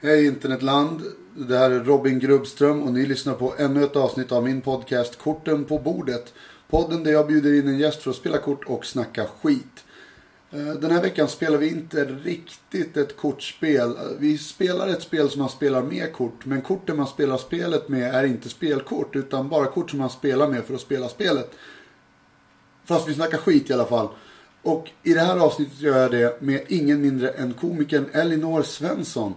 Hej internetland. Det här är Robin Grubbström och ni lyssnar på ännu ett avsnitt av min podcast Korten på bordet. Podden där jag bjuder in en gäst för att spela kort och snacka skit. Eh, Den här veckan spelar vi inte riktigt ett kortspel. Eh, Vi spelar ett spel som man spelar med kort, men korten man spelar spelet med är inte spelkort utan bara kort som man spelar med för att spela spelet. Fast vi snackar skit i alla fall. Och i det här avsnittet gör jag det med ingen mindre än komikern Elinor Svensson.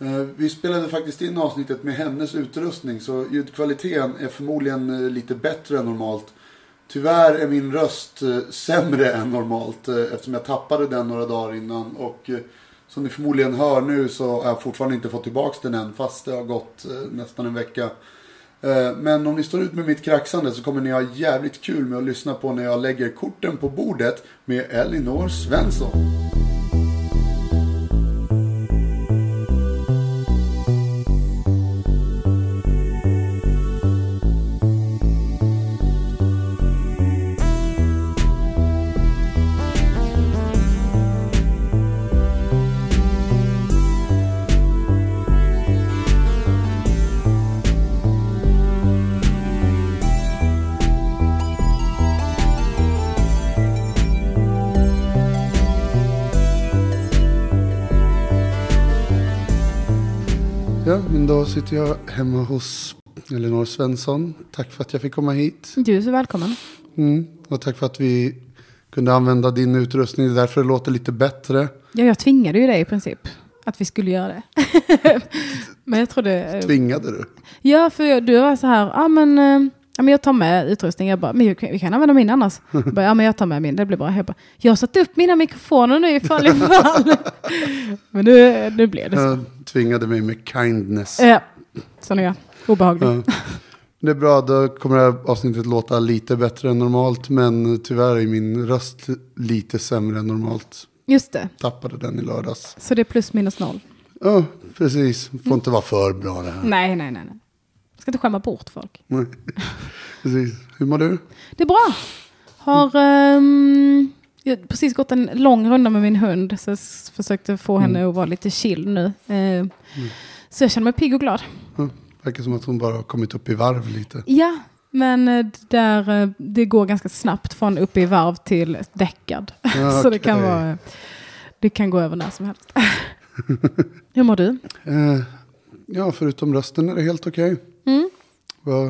Eh, Vi spelade faktiskt in avsnittet med hennes utrustning så ljudkvaliteten är förmodligen eh, lite bättre än normalt. Tyvärr är min röst eh, sämre än normalt eh, eftersom jag tappade den några dagar innan och eh, som ni förmodligen hör nu så har jag fortfarande inte fått tillbaks den än fast det har gått eh, nästan en vecka. Eh, Men om ni står ut med mitt kraxande så kommer ni ha jävligt kul med att lyssna på när jag lägger korten på bordet med Elinor Svensson. Ja, men då sitter jag hemma hos Elinor Svensson. Tack för att jag fick komma hit. Du är så välkommen. Mm. Och tack för att vi kunde använda din utrustning. Det är därför det låter lite bättre. Ja, jag tvingade ju dig i princip att vi skulle göra det. men jag trodde... eh, Tvingade du? Ja, för jag, du var så här, ah, men, eh, ja men jag tar med utrustning. Jag bara, men jag kan- vi kan använda min annars. Jag bara, ja men jag tar med min, det blir bra. Jag bara, jag har satt upp mina mikrofoner nu ifall ifall. men nu, nu blev det så. Äh. Jag tvingade mig med kindness. Ja, sån är jag. Obehaglig. Ja. Det är bra, då kommer det här avsnittet låta lite bättre än normalt. Men tyvärr är min röst lite sämre än normalt. Just det, Tappade den i lördags. så det är plus minus noll. Ja, precis. Får inte vara för bra det här. Nej, nej, nej. nej. Jag ska inte skämma bort folk. Nej. Precis. Hur mår du? Det är bra. Har ehm, jag har precis gått en lång runda med min hund. Så jag s- försökte få Mm. henne att vara lite chill nu. Eh, Så jag känner mig pigg och glad. Ja, verkar som att hon bara har kommit upp i varv lite. Ja, men eh, d- där, eh, det går ganska snabbt från uppe i varv till däckad. så det kan, Okej. vara, det kan gå över när som helst. Hur mår du? Eh, ja, förutom rösten är det helt okej. Mm. Var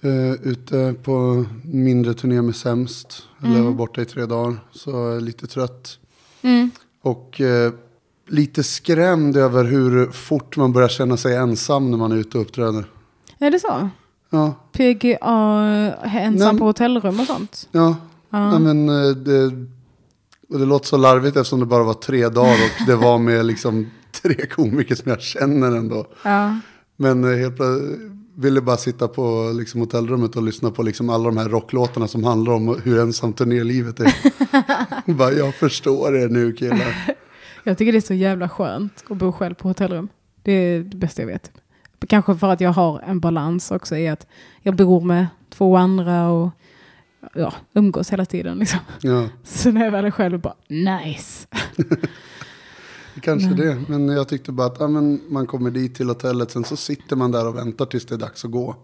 eh, ute på mindre turné med Sämst. Eller var borta i tre dagar. Så jag är lite trött. Mm. Och eh, lite skrämd över hur fort man börjar känna sig ensam när man är ute och uppträder. Är det så? Ja, PGA, ensam Nej. på hotellrum och sånt? ja. Ja. Nej, men eh, det, och det låter så larvigt eftersom det bara var tre dagar och det var med liksom tre komiker som jag känner ändå. Ja. Men eh, helt plötsligt ville bara sitta på liksom, hotellrummet och lyssna på liksom, alla de här rocklåtarna som handlar om hur ensamt turnélivet är. Och bara, jag förstår er nu killar. Jag tycker det är så jävla skönt att bo själv på hotellrum. Det är det bästa jag vet. Kanske för att jag har en balans också i att jag bor med två andra och ja, umgås hela tiden. Liksom. Ja, Så när jag väl är själv bara nice. kanske det. Men jag tyckte bara att ja, men man kommer dit till hotellet, sen så sitter man där och väntar tills det är dags att gå.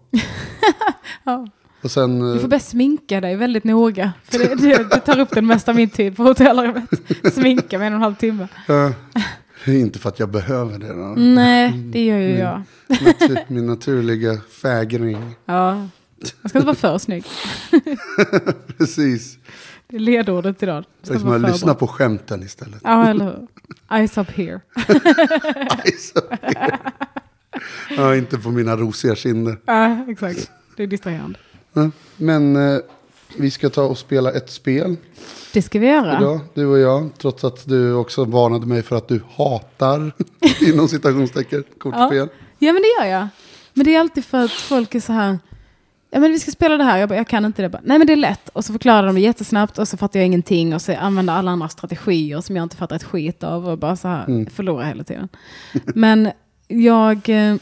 Ja. Och sen... eh, Du får bäst sminka dig väldigt noga. För det, det, det tar upp den mesta av min tid på hotellrummet. Sminka mig en och en halv timme. eh, inte för att jag behöver det. Då. Mm. Nej, det gör ju jag. Natur, min naturliga fägring. Ja. Jag ska inte vara för snygg. Precis. Det är ledordet idag. Jag ska Så inte man vara för lyssnar bra. på skämten istället. Ja, eller hur? Eyes up here. Nice. ja, inte på mina rosiga kinder. Ja, exakt. Det är distraherande. Ja, Men eh, vi ska ta och spela ett spel Det ska vi göra. idag, du och jag. Trots att du också varnade mig för att du hatar, inom citationstecken, kortspel. Ja, men det gör jag. Men det är alltid för att folk är så här. Ja, men vi ska spela det här. Jag bara, jag kan inte det. Jag Bara, Nej, men det är lätt. Och så förklarar de det jättesnabbt och så fattar jag ingenting. Och så använder alla andra strategier som jag inte fattar ett skit av. Och bara så här, förlorar hela tiden. Men jag... eh,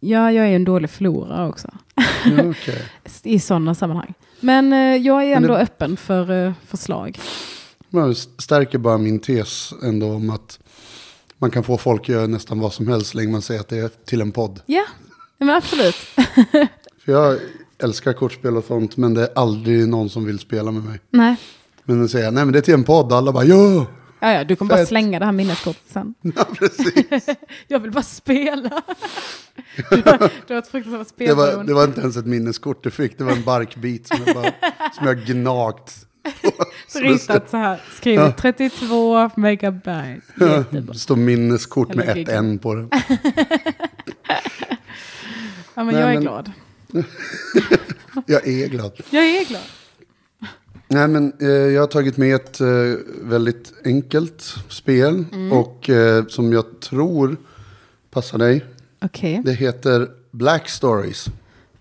Ja, jag är en dålig förlorare också. Ja, okej. I sådana sammanhang. Men eh, jag är Men det- ändå öppen för eh, förslag. Men det stärker bara min tes ändå om att Man kan få folk att göra nästan vad som helst så länge man säger att det är till en podd. Ja, ja, men absolut. För jag älskar kortspel och sånt, men det är aldrig någon som vill spela med mig. Nej. Men då säger jag, nej men det är till en podd, alla bara ja! Ja, ja, du kommer bara Fett. slänga det här minneskortet sen. ja precis. Jag vill bara spela. Du har, du har ett fruktansvärt Det var, spelberoende. det var inte ens ett minneskort du fick, det var en barkbit som jag, bara, som jag gnagt. på. Så det står- Ritat så här, skrivit 32 megabyte. Jättebra. Det står minneskort med Eller ett gig. N på det. Ja, men Nej, jag är men- glad. Jag är glad. Jag är glad. Nej, men eh, jag har tagit med ett eh, väldigt enkelt spel Mm. och eh, som jag tror passar dig. Okej, Det heter Black Stories.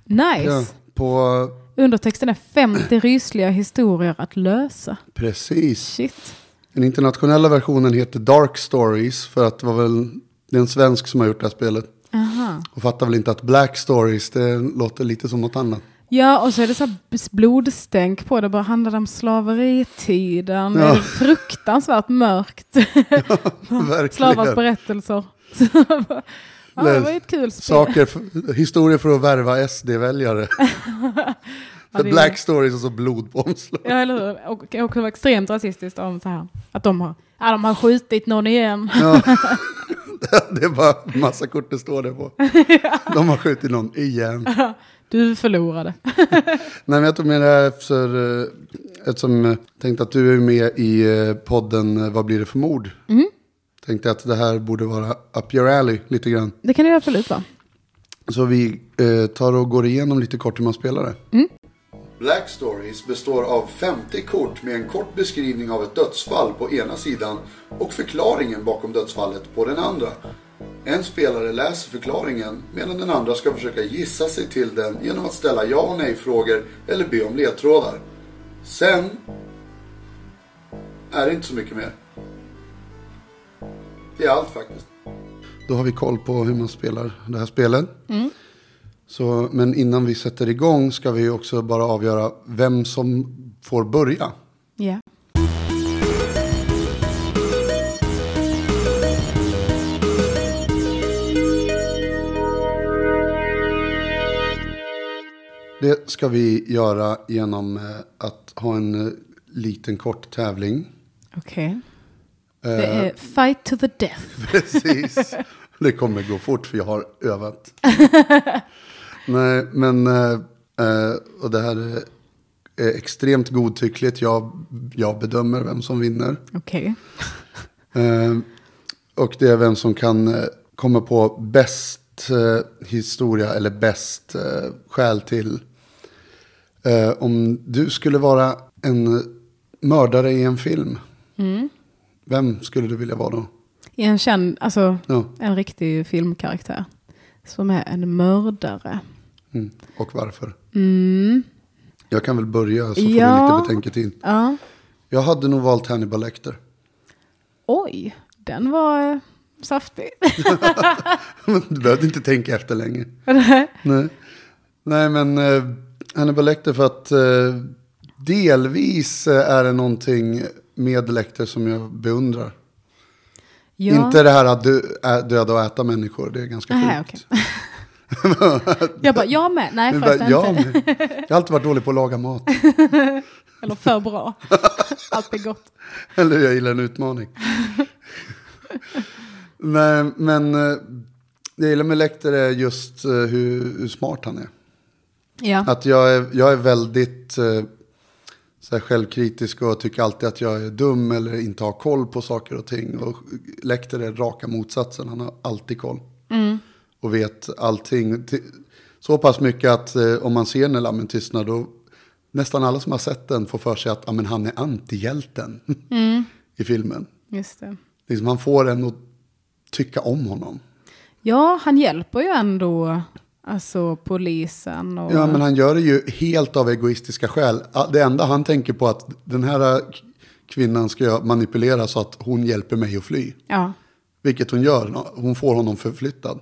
Ja, nice. på, Undertexten är 50 rysliga historier att lösa. precis. Shit. Den internationella versionen heter Dark Stories för att det var väl, det är en svensk som har gjort det här spelet. Aha. Och fattar väl inte att Black Stories, det låter lite som något annat. Ja, och så är det så här blodstänk på det. Bara handlar det om slaveritiden? Ja. Är det fruktansvärt mörkt. Slavars Verkligen. berättelser. Så jag bara, ja, det var ju ett kul spel. Saker, för, historier för att värva SD-väljare. Ja, det är- Black Stories och så blod på omslaget. Ja, eller hur? Och, och det var extremt rasistiskt om så här. Att de har, ja, de har skjutit någon igen. Det är bara massa kort det står det på. De har skjutit någon igen. Du förlorade. Nej, men jag tog med det här efter, eh, eftersom jag tänkte att du är med i eh, podden eh, Vad blir det för mord? Mm. Tänkte att det här borde vara up your alley lite grann. Det kan det ju absolut vara. Så vi eh, tar och går igenom lite kort hur man spelar det. Black Stories består av 50 kort med en kort beskrivning av ett dödsfall på ena sidan och förklaringen bakom dödsfallet på den andra. En spelare läser förklaringen medan den andra ska försöka gissa sig till den genom att ställa ja och nej-frågor eller be om ledtrådar. Sen är det inte så mycket mer. Det är allt faktiskt. Då har vi koll på hur man spelar det här spelet. Så, men innan vi sätter igång ska vi också bara avgöra vem som får börja. Ja. Det ska vi göra genom eh, att ha en eh, liten kort tävling. Okej. Eh, Det är fight to the death. Precis. Det kommer gå fort för jag har övat. Nej, men eh, eh, och det här är extremt godtyckligt. Jag, jag bedömer vem som vinner. Okej. Eh, och det är vem som kan eh, komma på bäst eh, historia eller bäst eh, skäl till. Eh, om du skulle vara en mördare i en film, Mm. vem skulle du vilja vara då? I en känd, alltså Ja, en riktig filmkaraktär. Som är en mördare. mm. Och varför? Mm. Jag kan väl börja så får du Ja. lite betänketid. Ja. Jag hade nog valt Hannibal Lecter. Oj, den var eh, saftig. du behövde inte tänka efter länge. Nej. Nej, men eh, Hannibal Lecter för att eh, delvis eh, är det någonting med Lecter som jag beundrar. Ja. Inte det här att dö, ä, döda och äta människor, det är ganska Nähä, sjukt. Jag bara, jag med. Nej, Men förresten bara, ja, inte. men, jag har alltid varit dålig på att laga mat. Eller för bra. Allt är gott. Eller jag gillar en utmaning. Nej, men eh, det jag gillar med Lecter är just eh, hur, hur smart han är. Ja. Att jag är, jag är väldigt eh, så här självkritisk och tycker alltid att jag är dum eller inte har koll på saker och ting. Och Lecter är raka motsatsen, han har alltid koll. Mm. Och vet allting. Ti- Så pass mycket att eh, om man ser När lammen tystnar då nästan alla som har sett den får för sig att ja, men han är antihjälten i filmen. Mm. Just det. Liksom, han får en att tycka om honom. Ja, han hjälper ju ändå alltså, polisen. Och, Ja, men han gör det ju helt av egoistiska skäl. Det enda han tänker på är att den här kvinnan ska jag manipulera så att hon hjälper mig att fly. ja. Mm. Vilket hon gör. Hon får honom förflyttad.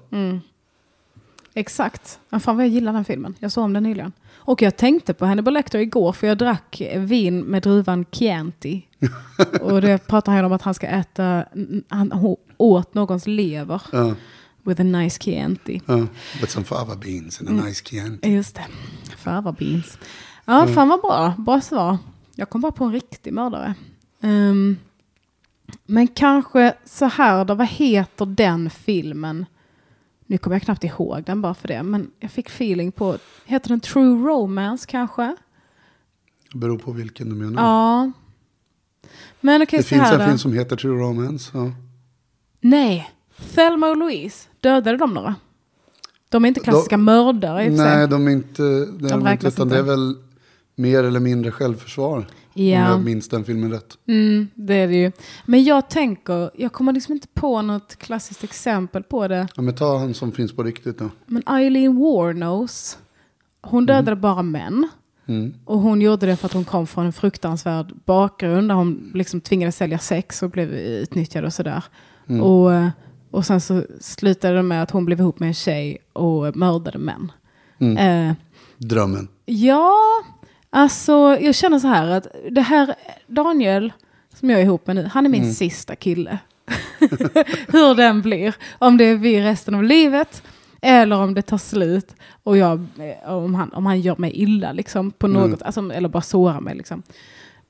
Exakt. Men fan vad jag gillar den filmen. Jag såg om den nyligen. Och jag tänkte på Hannibal Lecter igår för jag drack vin med druvan Chianti. och det pratar han om att han ska äta, han åt någons lever. Ja, With a nice Chianti. ja. With some fava beans and a Mm. nice can. Just det. Fan vad beans. Ja, Mm. fan vad bra. Bra svar. Jag kom bara på en riktig mördare. Ehm, men kanske så här då, vad heter den filmen? Nu kommer jag knappt ihåg den bara för det, men jag fick feeling på, heter den True Romance Mm. kanske? Det beror på vilken du menar. Ja. Men okej, det så finns här en då. film som heter True Romance. Ja. Nej, Thelma och Louise, dödade de några? De är inte klassiska mördare i och för Nej, sig. de är inte... Det är de inte, räknas utan inte. det är väl mer eller mindre självförsvar. Om Ja. Mm, jag minns den filmen rätt. Mm, det är det ju. Men jag tänker, jag kommer liksom inte på något klassiskt exempel på det. Ja, men ta han som finns på riktigt då. Men Eileen Warnos, hon dödade bara män. Mm. Och hon gjorde det för att hon kom från en fruktansvärd bakgrund där hon liksom tvingades sälja sex och blev utnyttjad och sådär. Och, eh, och sen så slutade det med att hon blev ihop med en tjej och mördade män. Eh, Mm. Drömmen. Ja, alltså jag känner så här att det här Daniel som jag är ihop med nu, han är min sista kille. Hur den blir, om det blir resten av livet eller om det tar slut och jag, eh, om, han, om han gör mig illa liksom, på något, alltså, eller bara sårar mig. Liksom.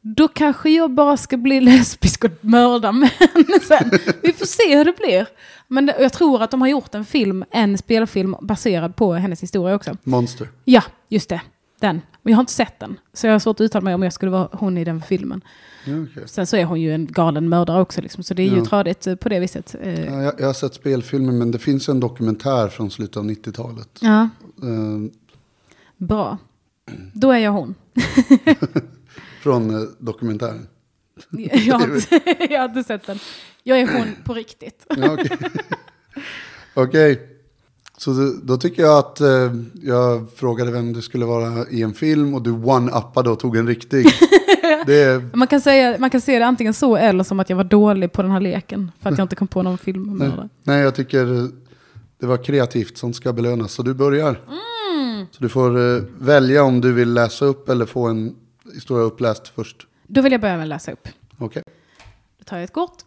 Då kanske jag bara ska bli lesbisk och mörda män sen. Vi får se hur det blir. Men det- jag tror att de har gjort en film, en spelfilm baserad på hennes historia också. Monster. Ja, just det. Den. Men jag har inte sett den. Så jag har svårt att uttala mig om jag skulle vara hon i den filmen. Ja, okej. Sen så är hon ju en galen mördare också, liksom, så det är ju Ja. tradigt eh, på det viset. Eh, Ja, jag, jag har sett spelfilmen men det finns en dokumentär från slutet av 90-talet. Ja, Eh, bra. Då är jag hon. från eh, dokumentären. Jag har, inte, jag har inte sett den. Jag är hon på riktigt. Ja, Okej. Okej. Så då- då tycker jag att eh, jag frågade vem du skulle vara i en film och du one-uppade och tog en riktig. Det är, Man kan, säga, man kan se det antingen så eller som att jag var dålig på den här leken. För att jag inte kom på någon film om mördare. nej, jag tycker eh, det var kreativt som ska belönas. Så du börjar. Så du får eh, välja om du vill läsa upp eller få en historia uppläst först. Då vill jag börja med att läsa upp. Okej. Då tar jag ett kort.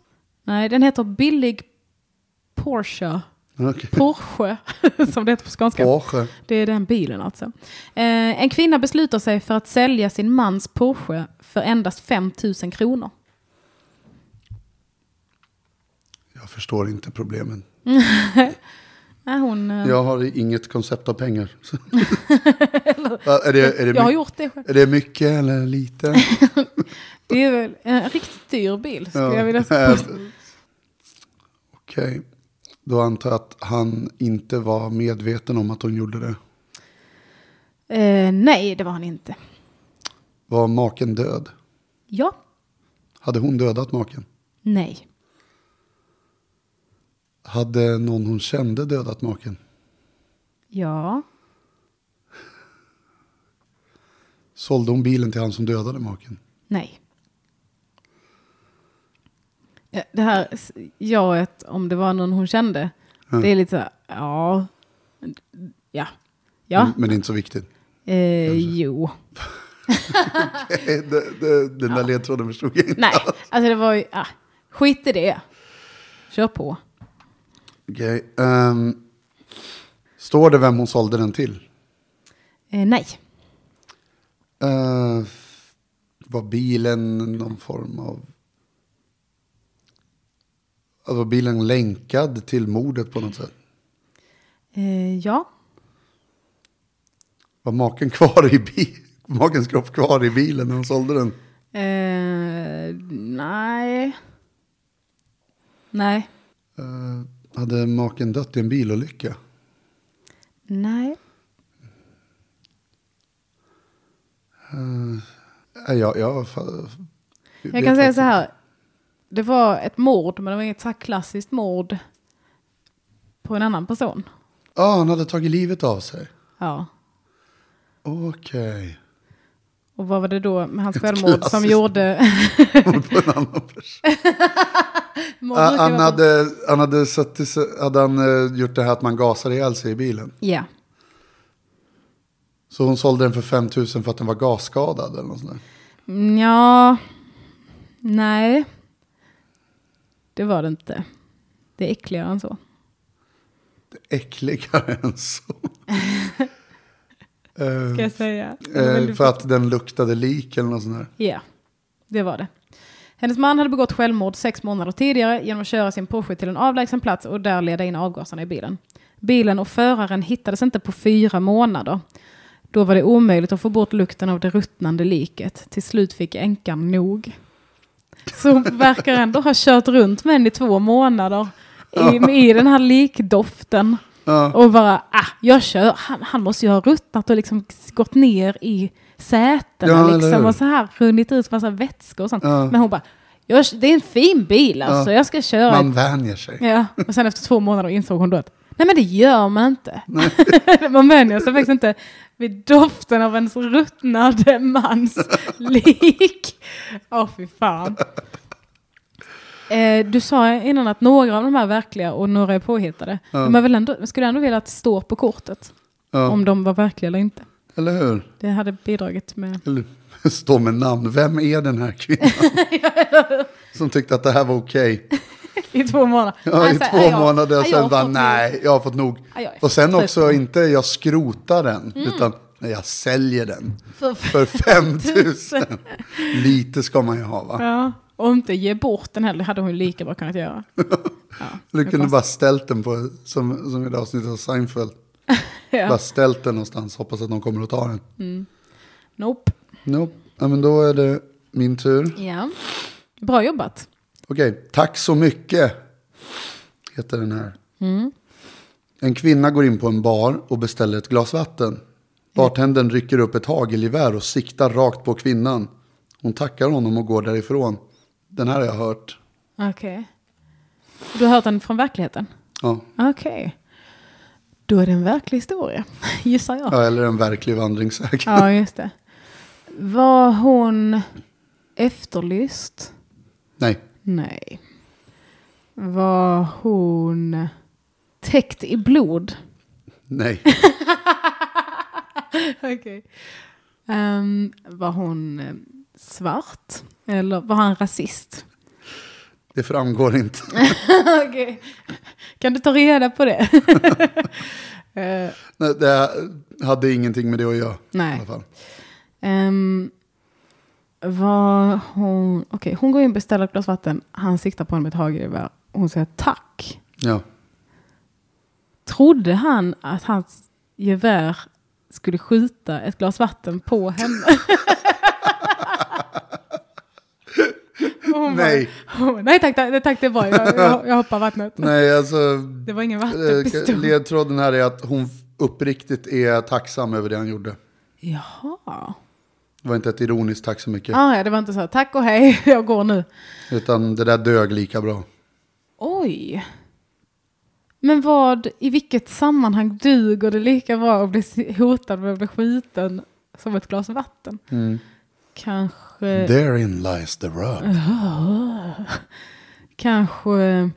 Nej, den heter Billig Porsche. Okej. Porsche, som det heter på skånska. Porsche. Det är den bilen alltså. Eh, en kvinna beslutar sig för att sälja sin mans Porsche för endast 5 000 kronor. Jag förstår inte problemen. Nej, hon, eh, Jag har inget koncept av pengar. Så- Va, är, det, är, det jag har my- gjort det själv. är det mycket eller lite? Det är väl en riktigt dyr bil. Skulle Ja. jag vilja säga. Eh, Okej. Då antar jag att han inte var medveten om att hon gjorde det. Eh, nej, det var han inte. Var maken död? Ja, Hade hon dödat maken? nej, Hade någon hon kände dödat maken? ja, Sålde hon bilen till han som dödade maken? nej. Eh, Det här jaet, om det var någon hon kände, Ja. det är lite så här, ja, ja, ja, Men- Mm, Men det är inte så viktigt. eh, jo. Eh, det- det- Den där ledtråden förstod jag inte. Nej, alltså det var ju... Ah, skit i det. Kör på. Okej. ehm, står det vem hon sålde den till? Eh, nej. Eh, var bilen någon form av... Ja, Var bilen länkad till mordet på något sätt? Eh, ja. Var maken kvar i bilen? Makens kropp kvar i bilen när hon sålde den? Eh, nej. Nej. Eh, hade maken dött i en bilolycka? Nej. Eh, Nej, jag, jag, fa- Jag vet kan säga faktiskt- så här. Det var ett mord, men det var inget så här klassiskt mord på en annan person. Ja, Ah, han hade tagit livet av sig. Ja. Okej. Och vad var det då med hans Ett självmord som klassiskt gjorde... Mord på en annan person. Må Ah, brukar han, vara- hade, han hade, satt, till sig- hade han eh, gjort det här att man gasar ihjäl sig i bilen. Ja. Så hon sålde den för 5 000 för att den var gasskadad eller något sånt där. Ja. Nej. Det var det inte. Det är äckligare än så. Mm. Äckligare än så. Eh, Ska jag säga. eh, för att den luktade lik eller något sånt där. Ja, det var det. Hennes man hade begått självmord sex månader tidigare genom att köra sin Porsche till en avlägsen plats och där leda in avgaserna i bilen. Bilen och föraren hittades inte på fyra månader. Då var det omöjligt att få bort lukten av det ruttnande liket. Till slut fick änkan nog. Så hon verkar ändå ha kört runt med den i två månader i, i den här likdoften. Ja. Och bara, ah, jag kör. Han, han måste ju ha ruttnat och liksom gått ner i sätena Ja, eller liksom. hur? Och så här runnit ut massa vätskor och sånt. Ja. Men hon bara, jag, det är en fin bil alltså, Ja. jag ska köra. Man vänjer sig. Ja. Och sen efter två månader insåg hon då att, nej men det gör man inte. man vänjer sig faktiskt inte vid doften av ens ruttnade mans lik. Åh fy fan. Eh, du sa innan att några av de här är verkliga och några är påhittade. Ja. Men man vill ändå, skulle ändå vilja att det står på kortet Ja. om de var verkliga eller inte. Eller hur? Det hade bidragit med... Eller stå med namn. Vem är den här kvinnan? Som tyckte att det här var okej. I två månader. Ja, I Alltså, två ja, jag- månader ja, och jag sen har bara fått nog. nej, jag har fått nog. Ja, jag är Och sen trött. också inte jag skrotar den, Mm. utan nej, jag säljer den. För- För 5 000. Lite ska man ju ha va? Ja, och inte ge bort den heller. Det hade hon lika bra kunnat göra. Ja, Du det kunde fanns- bara ställt den på, som, som i det avsnittet av Seinfeld. Ja. Bara ställt den någonstans, hoppas att någon kommer att ta den. Nope. Nope. Ja, men då är det min tur. Ja. Bra jobbat. Okej, tack så mycket. Heter den här. Mm. En kvinna går in på en bar och beställer ett glas vatten. Bartendern rycker upp ett hagelgevär och siktar rakt på kvinnan. Hon tackar honom och går därifrån. Den här har jag hört. Okej. Du har hört den från verkligheten? Ja, Okej. Då är det en verklig historia, gissar jag. ja eller en verklig vandringssägen. Ja, just det. Var hon efterlyst? Nej, Nej. Var hon täckt i blod? nej. Okej. Ehm, var hon eh, svart? Eller var han rasist? Det framgår inte. Okej. Kan du ta reda på det? Eh, Nej, det hade ingenting med det att göra. I nej. alla fall. Ehm, var hon... Okej, hon går in och beställer ett glas vatten. Han siktar på henne med ett hagelgevär. Hon säger tack. Ja. Trodde han att hans gevär skulle skjuta ett glas vatten på henne? Och hon bara- Nej. hon bara, nej tack, tack, tack, det är bra. Jag, jag, jag hoppar vattnet. Nej, alltså. Det var ingen eh, vattenpistol. Ledtråden här är att hon uppriktigt är tacksam över det han gjorde. Jaha. Det var inte ett ironiskt tack så mycket. Ah, ja, det var inte så här, tack och hej, jag går nu. Utan det där dög lika bra. Oj. Men vad, i vilket sammanhang duger det lika bra att bli si- hotad med att bli skjuten som ett glas vatten? Kanske, Mm. Therein lies the rub. kanske,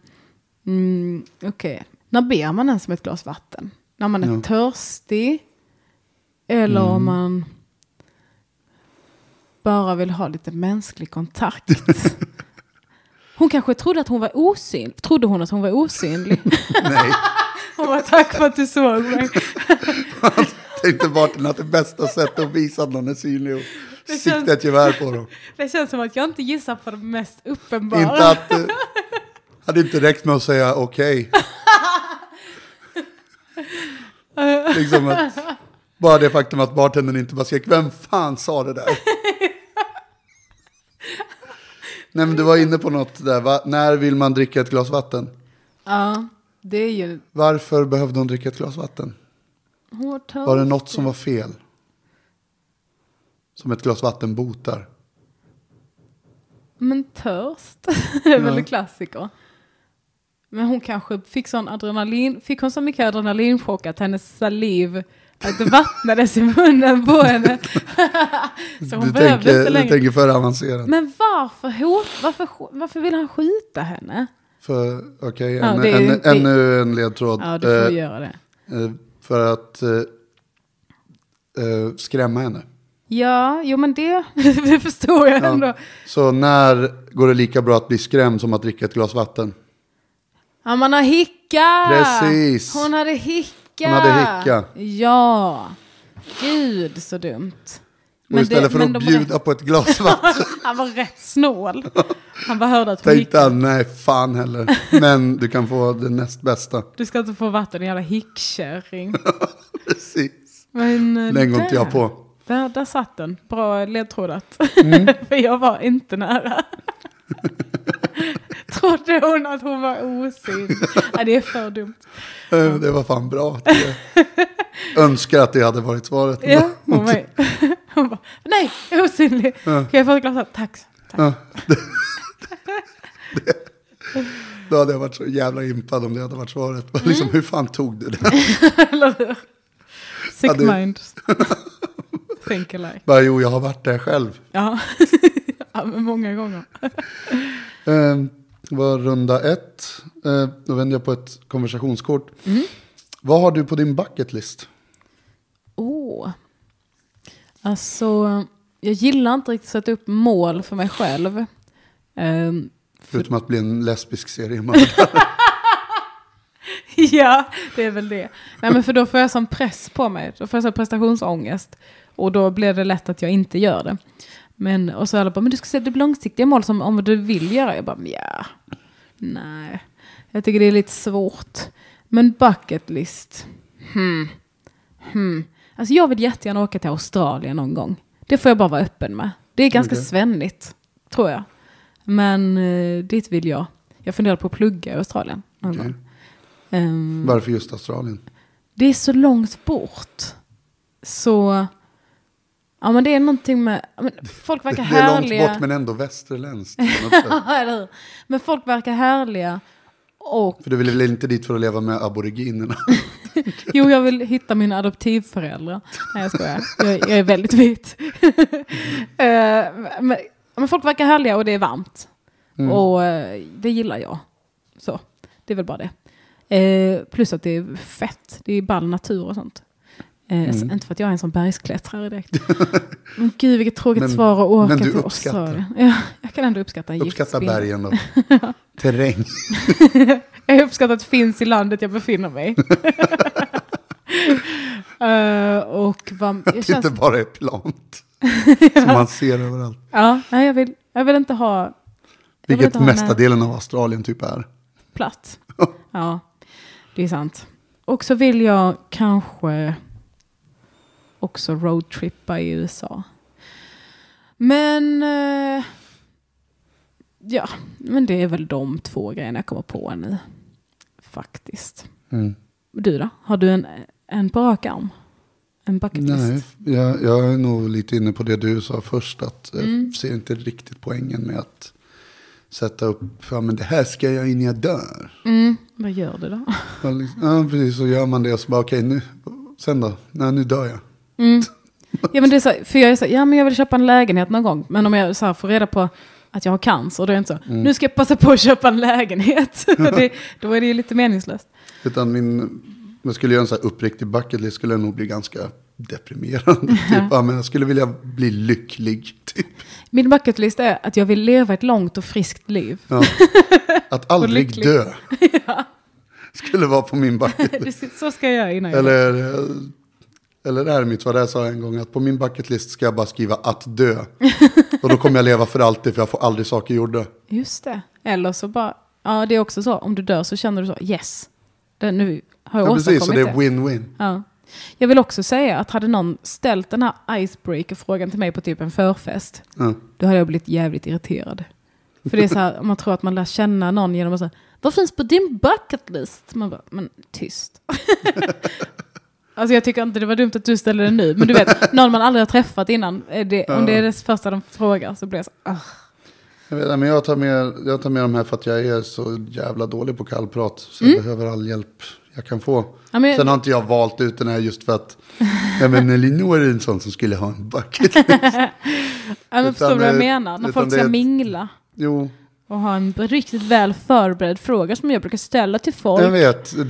mm, okej. När ber man ens om ett glas vatten? När man är Ja. törstig? Eller om man bara vill ha lite mänsklig kontakt? Hon kanske trodde att hon var osynlig. Trodde hon att hon var osynlig? Nej, Hon bara, tack för att du såg mig. tänkte Martin att det bästa sättet att visa att någon är synlig är att känns- sikta ett gevär på dem. Det känns som att jag inte gissar på det mest uppenbara. Inte att... eh, Hade inte räckt med att säga okej. liksom att, bara det faktum att bartendern inte bara skrek vem fan sa det där? Nej men du var inne på något där, va? när vill man dricka ett glas vatten? Ja, det är ju... Varför behövde hon dricka ett glas vatten? Hon var törstig. Var det något som var fel? Som ett glas vatten botar. Men törst. det är väl Ja. en klassiker. Men hon kanske fick sån adrenalin, fick hon så mycket adrenalinchock att hennes saliv att det vattnades i munnen på henne. så hon du, behövde inte tänker, du längre. tänker för avancerat. Men varför, hot, varför, varför vill han skjuta henne? För, Okej, Ja, ännu- det är- ännu- det- ännu en ledtråd. Ja, du får Eh, göra det. eh, för att eh, eh, skrämma henne. Ja, jo men det, det förstår jag Ja. ändå. Så när går det lika bra att bli skrämd som att dricka ett glas vatten? Ja, man har hicka! Precis. Hon hade hicka! Hon hade hicka. Ja. Gud, så dumt. och istället för att de- bjuda på ett glas vatten Han var rätt snål. Han bara hörde att hon tänkte hickade. han, nej fan heller. Men du kan få det näst bästa. Du ska inte få vatten, din jävla hickkärring. Precis. Men eh, Den går inte där- jag på. Där, där satt den. Bra ledtrådat. Mm. För jag var inte nära. Trodde hon att hon var osynlig? Ja, det är för dumt. Eh, Det var fan bra. att det- Önskar att det hade varit svaret. Ja, hon, var, hon bara, nej, jag är osynlig. Kan jag få ett glas vatten? Tack. tack. Ja. Då hade jag varit så jävla impad om det hade varit svaret. Men Mm. Liksom, hur fan tog du det? Eller hur? Sick Ja, det- mind. Think alike. Bara, jo, jag har varit där själv. Ja. ja, men många gånger. Eh, det var runda ett. Eh, då vänder jag på ett konversationskort. Mm. Vad har du på din bucket list? Åh. Alltså, jag gillar inte riktigt att sätta upp mål för mig själv. Ehm, Förutom att bli en lesbisk seriemördare. ja, det är väl det. Nej, men för då får jag sån press på mig. Då får jag sån prestationsångest. Och då blir det lätt att jag inte gör det. Men, och så alla bara, men du ska sätta upp långsiktiga mål som om du vill göra. Jag bara, ja. Nej. Jag tycker det är lite svårt. Men bucket list. Hmm. Hmm. Alltså jag vill jättegärna åka till Australien någon gång. Det får jag bara vara öppen med. Det är ganska Okej. svennigt, tror jag. Men eh, dit vill jag. Jag funderar på att plugga i Australien någon Okej. gång. Ehm, Varför just Australien? det är så långt bort. Så... Ja men det är någonting med... ja, Men folk Det, det verkar är långt härliga. bort men ändå västerländskt. Ja, eller hur? Men folk verkar härliga. Och för du vill väl inte dit för att leva med aboriginerna? jo, jag vill hitta mina adoptivföräldrar. Nej, jag skojar. Jag, jag är väldigt vit. Eh, men, men folk verkar härliga och det är varmt. Mm. Och eh, det gillar jag. Så, det är väl bara det. Eh, plus att det är fett, det är ball natur och sånt. Eh, Mm. så inte för att jag är en sån bergsklättrare direkt. Men gud vilket tråkigt Men- svar att åka men du till uppskattar. Australien. Ja, jag kan ändå uppskatta en Uppskatta giftspindel. bergen då. Terräng. Jag uppskattar att det finns i landet jag befinner mig. Eh, och vad, jag Att det känns, inte bara är plant. Som man ser överallt. ja, nej, jag, vill, jag vill inte ha vill Vilket inte ha mesta med- delen av Australien typ är. platt. Ja, det är sant. Och så vill jag kanske också roadtrippa i USA. Men, eh, ja, men det är väl de två grejerna jag kommer på nu. Faktiskt. Mm. Du då? Har du en, en på rak arm? En bucket list? Nej, jag, jag är nog lite inne på det du sa först. Att jag ser inte riktigt poängen med att sätta upp, ja men det här ska jag innan jag dör. Mm. Vad gör du då? Ja, liksom, ja precis, så gör man det och så bara okej nu, sen då? Nej nu dör jag. Mm. Ja, men det är så, här, för jag är så här, ja men jag vill köpa en lägenhet någon gång. Men om jag så här får reda på att jag har cancer, då är jag inte så, Mm. nu ska jag passa på att köpa en lägenhet. det, då är det ju lite meningslöst. Utan min, om jag skulle göra en så här uppriktig bucket list skulle jag nog bli ganska deprimerande. typ, ja, men jag skulle vilja bli lycklig. Typ. Min bucket list är att jag vill leva ett långt och friskt liv. Ja. Att aldrig lycklig. dö. Skulle vara på min bucket list. Det ska- så ska jag göra innan jag Eller, eller det här är mitt svar, det här sa jag en gång, att på min bucket list ska jag bara skriva att dö. Och då kommer jag leva för alltid, för jag får aldrig saker gjorda. Just det. Eller så bara, ja det är också så, om du dör så känner du så, yes. Det, nu har jag Ja, åstadkommit precis, så det är det. win-win. Ja. Jag vill också säga att hade någon ställt den här icebreaker-frågan till mig på typ en förfest, Ja. då hade jag blivit jävligt irriterad. För det är så här, man tror att man lär känna någon genom att säga, vad finns på din bucket list? Man bara, men tyst. alltså jag tycker inte det var dumt att du ställde den nu, men du vet, någon man aldrig har träffat innan, är det, om det är det första de frågar så blir jag så, "Ah." Jag vet, men jag tar, med, jag tar med de här för att jag är så jävla dålig på kallprat. Så jag behöver all hjälp jag kan få. Ja, men- Sen har inte jag valt ut den här just för att nej, men Elinor är en sån som skulle ha en bucket. Ja, men Utan, förstår du vad jag eh, menar? När utan folk det ska är ett- mingla jo, och ha en riktigt väl förberedd fråga som jag brukar ställa till folk. jag vet. Det,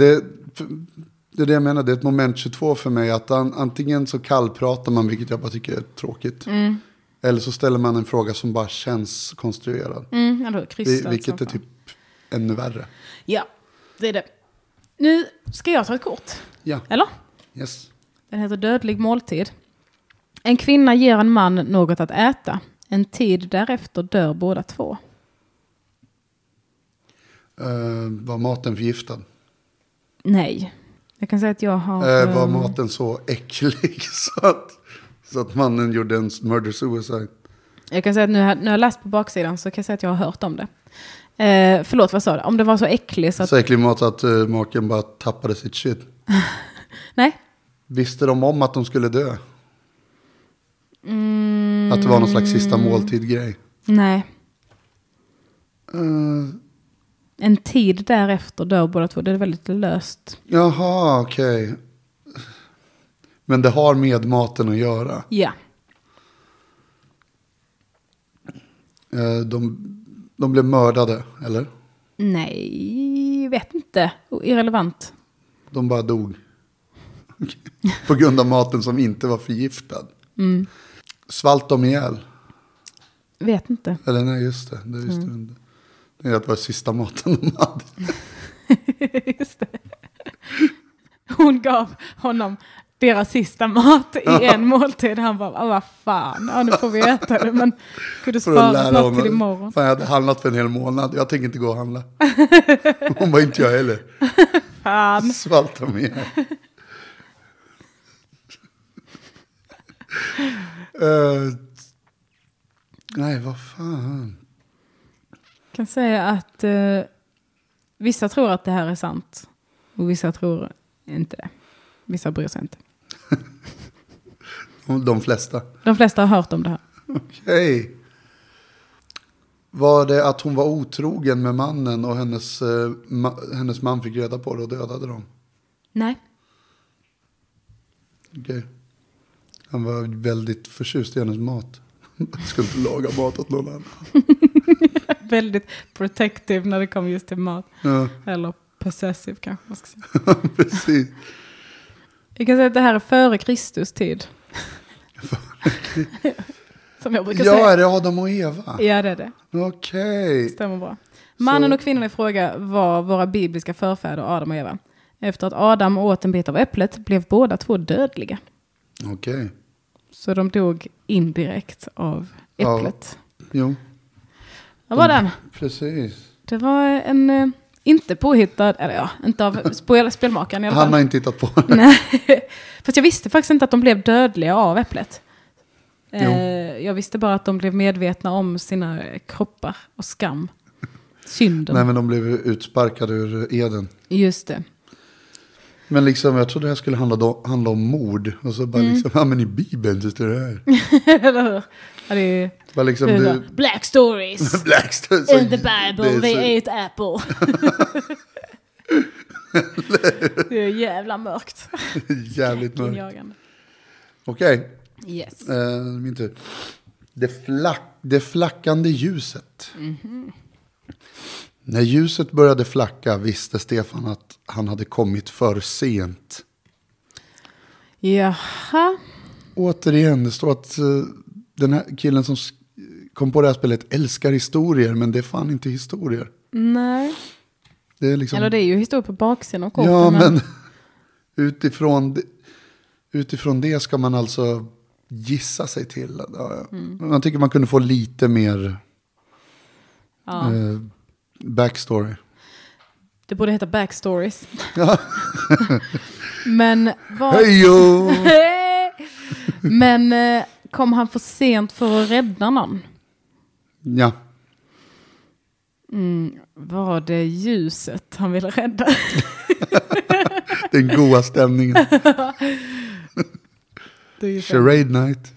det är det jag menar, det är ett moment 22 för mig. Att an, antingen så kallpratar man, vilket jag bara tycker är tråkigt. Mm, Eller så ställer man en fråga som bara känns konstruerad. Mm, ja, då, krystat Vi- som vilket är fan. typ ännu värre. Ja, det är det. Nu ska jag ta ett kort. Ja, Eller? yes. Den heter Dödlig måltid. En kvinna ger en man något att äta. En tid därefter dör båda två. Eh, var maten förgiftad? Nej. Jag kan säga att jag har... Eh, var ehm, maten så äcklig så att, så att mannen gjorde en murder suicide? Jag kan säga att nu, har- nu har jag läst på baksidan så kan jag säga att jag har hört om det. Eh, förlåt, vad sa du? Om det var så äcklig så Så, att... äcklig mat att eh, maken bara tappade sitt shit. Nej. Visste de om att de skulle dö? Att det var någon slags sista måltid-grej? Mm. Nej. Eh, En tid därefter dör båda två. Det är väldigt löst. jaha, okej. Men det har med maten att göra. Ja. Eh, de, de blev mördade, eller? Nej, vet inte. Irrelevant. De bara dog. På grund av maten som inte var förgiftad. Mm. Svalt de ihjäl? Vet inte. Eller nej, just det. Det visste vi inte. Det är att det var sista maten de hade. Just det. Hon gav honom deras sista mat i en måltid. Han bara, "Ah, vad fan, ja, nu får vi äta det, men kunde För att spara lära något till honom. imorgon. Fan, jag hade handlat för en hel månad. Jag tänker inte gå och handla. Hon var inte jag heller. Fan. Svalt de ihjäl. Eh, nej, vad fan. Jag kan säga att eh, vissa tror att det här är sant och vissa tror inte det. Vissa bryr sig inte. De flesta. De flesta har hört om det här. Okej. Var det att hon var otrogen med mannen och hennes, eh, ma- hennes man fick reda på det och dödade dem? Nej. Okej. Han var väldigt förtjust i hennes mat. Jag skulle inte laga mat åt någon annan. Väldigt protective när det kommer just till mat. Ja, Eller possessive kanske man ska säga. precis. Jag kan säga att det här är före Kristus tid. Som jag brukar Ja, säga. är det Adam och Eva? Ja, det är det. Okej. Stämmer bra. Mannen Så- och kvinnan i fråga var våra bibliska förfäder Adam och Eva. Efter att Adam åt en bit av äpplet blev båda två dödliga. Okej. Så de dog indirekt av Ja. äpplet. Jo, Vad var den? precis. Det var en eh, inte påhittad, eller ja, inte av spel, spelmakaren i alla Han har fall. inte tittat på det. Nej. Fast jag visste faktiskt inte att de blev dödliga av äpplet. Jo. Eh, Jag visste bara att de blev medvetna om sina kroppar och skam. Synden. Nej, men de blev utsparkade ur Eden. Just det. Men liksom, jag trodde det här skulle handla, då, handla om mord. Och så Mm. bara liksom, ja men i Bibeln så står det här. Eller hur? Ja, det är, Bara liksom, det är så du, Alltså, här, Black stories Blackstone. in the Bible, they ate apple. det är jävla mörkt. Jävligt mörkt. Injagande. Okej, Yes. eh, min tur. Det, flack, det flackande ljuset. Mhm. När ljuset började flacka visste Stefan att han hade kommit för sent. Jaha. Återigen, det står att eh, den här killen som sk- kom på det här spelet älskar historier, men det är fan inte historier. Nej. Det är liksom... Eller det är ju historia på baksidan av korten. Ja, men utifrån, det- utifrån det ska man alltså gissa sig till. Ja, Mm. Man tycker man kunde få lite mer Ja. eh, backstory. Det borde heta backstories. Ja. Men vad... Hejo! Men eh, kom han för sent för att rädda någon? ja, Mm, Var det ljuset han ville rädda? den goa stämningen. Det är ju så. Charade night.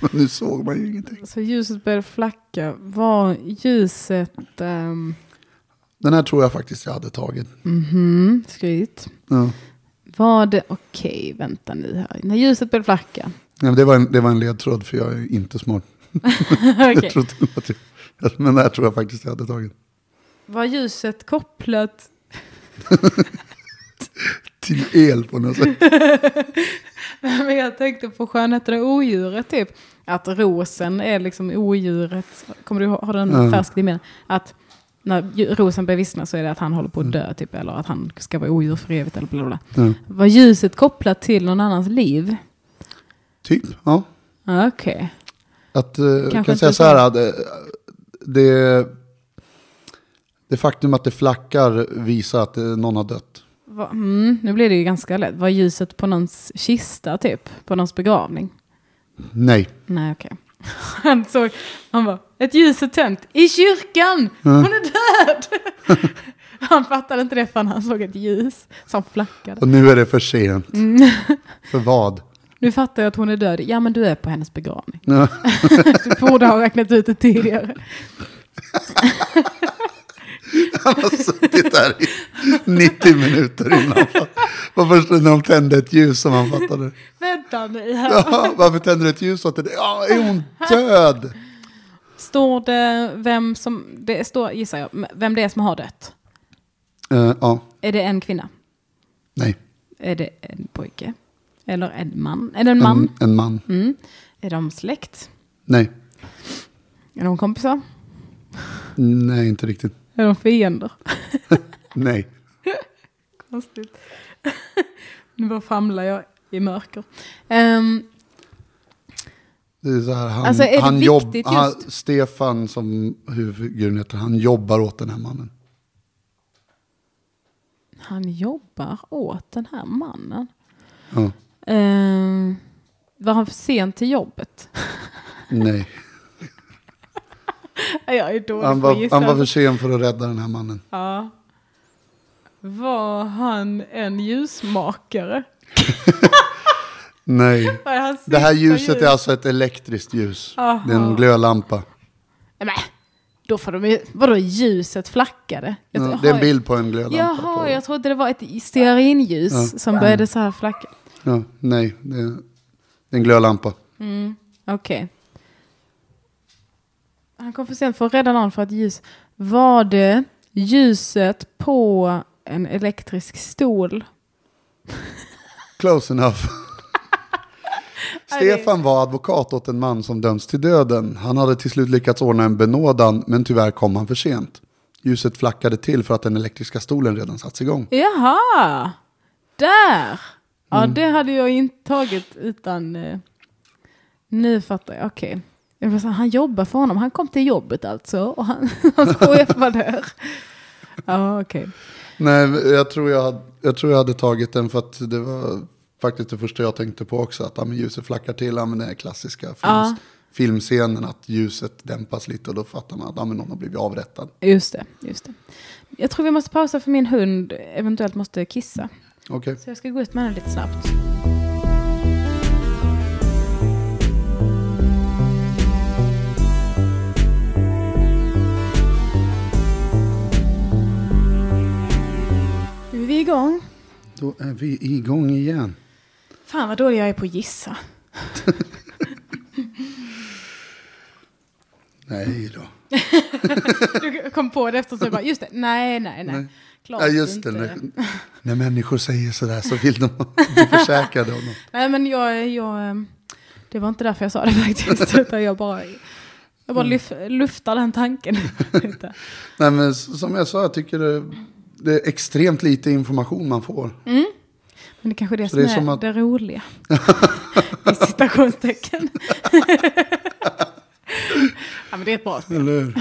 Men nu såg man ju ingenting. Så ljuset började flacka. Var ljuset... Um, Den här tror jag faktiskt jag hade tagit. mhm, skryt. Ja. Var det... Okej, vänta nu här. När ljuset började flacka. Ja, men det, var en, det var en ledtråd för jag är ju inte smart. Okej. Jag trodde att jag, men den här tror jag faktiskt jag hade tagit. Var ljuset kopplat... Till el på något sätt. Men jag tänkte på skönheten och odjuret typ. Att rosen är liksom odjuret. Kommer du ha har du den Ja. färsk i minnet? Att när ju- rosen börjar vissna så är det att han håller på att dö typ. Eller att han ska vara odjur för evigt eller bla bla, bla. Ja. Var ljuset kopplat till någon annans liv? Typ, ja. Ja, Okej. Att, eh, jag kan inte säga så- så här, att, eh, det, det faktum att det flackar visar att eh, någon har dött. Va- Mm, nu blir det ju ganska lätt. Var ljuset på någons kista typ? På någons begravning? Nej. Nej, okej. Han såg, han bara, ett ljus är tänt i kyrkan! Hon är död! han fattade inte det förrän han såg ett ljus som flackade. Och nu är det för sent. Mm. För vad? Nu fattar jag att hon är död. Ja, men du är på hennes begravning. Ja. Du borde ha räknat ut det tidigare. Han har suttit där i 90 minuter innan. han fatt- Det var först när de tände ett ljus som han fattade. Vänta nu här. Ja, varför tänder du ett ljus åt det? Ja, är hon död? Står det vem som, det står, gissar jag, vem det är som har dött? Eh, ja, Är det en kvinna? nej. Är det en pojke? Eller en man? Är det en man? En, en man. Mm. Är de släkt? Nej. Är de kompisar? Nej, inte riktigt. Är de fiender? Nej. Konstigt. nu bara famlar jag i mörker. Ehm, Det är så här, han, Alltså, är det han viktigt jobb, just- han, Stefan som huvudguden heter, han jobbar åt den här mannen. han jobbar åt den här mannen. Ja, Ehm, var han för sen till jobbet? nej. jag är dålig Han på att var, gissa. han var för sen för att rädda den här mannen. ja. Var han en ljusmakare? Nej. Var han Det här sista ljuset ljus? är alltså ett elektriskt ljus. Aha. Det är en glödlampa. Nej, men, då får de ju... Vadå ljuset flackade? Jag- Ja, det är en har- bild på en glödlampa. Jaha, på- jag trodde det var ett stearinljus Ja. som började så här flacka. ja, nej, det är, det är en glödlampa. Okej. Han kom för sent för att rädda någon för att ljus. Var det ljuset på en elektrisk stol? Close enough. Nej, det- Stefan var advokat åt en man som dömts till döden. Han hade till slut lyckats ordna en benådan, men tyvärr kom han för sent. Ljuset flackade till för att den elektriska stolen redan satts igång. Jaha! Där! Ja, Mm. det hade jag inte tagit utan... Eh, nu fattar jag. Okej. Jag var så här, Han jobbar för honom. Han kom till jobbet alltså. Och han, hans chef var där. Ja, okej. Nej, jag tror jag, hade- jag tror jag hade tagit den för att det var faktiskt det första jag tänkte på också. Att ja, men ljuset flackar till, ja, men det är klassiska films, Ja. filmscenen. Att ljuset dämpas lite och då fattar man att ja, men någon har blivit avrättad. Just det, just det. Jag tror vi måste pausa för min hund eventuellt måste kissa. Okej. Så jag ska gå ut med henne lite snabbt. Nu är vi igång. Då är vi igång igen. Fan vad dålig jag är på att gissa. Nej då. Du kom på det efteråt så jag bara, just det, nej, nej, nej. Nej. Klart Ja, just inte. det. När, när människor säger sådär så vill de bli försäkrade om något. Nej men jag, jag, ehm, det var inte därför jag sa det faktiskt. utan jag bara, jag Mm. bara lyf, luftar den tanken. lite. Nej, men s- som jag sa, jag tycker det, det är extremt lite information man får. Men det kanske är det Så som det är är, som att- det roliga. I citationstecken. ja, men det är ett bra spel. Eller hur?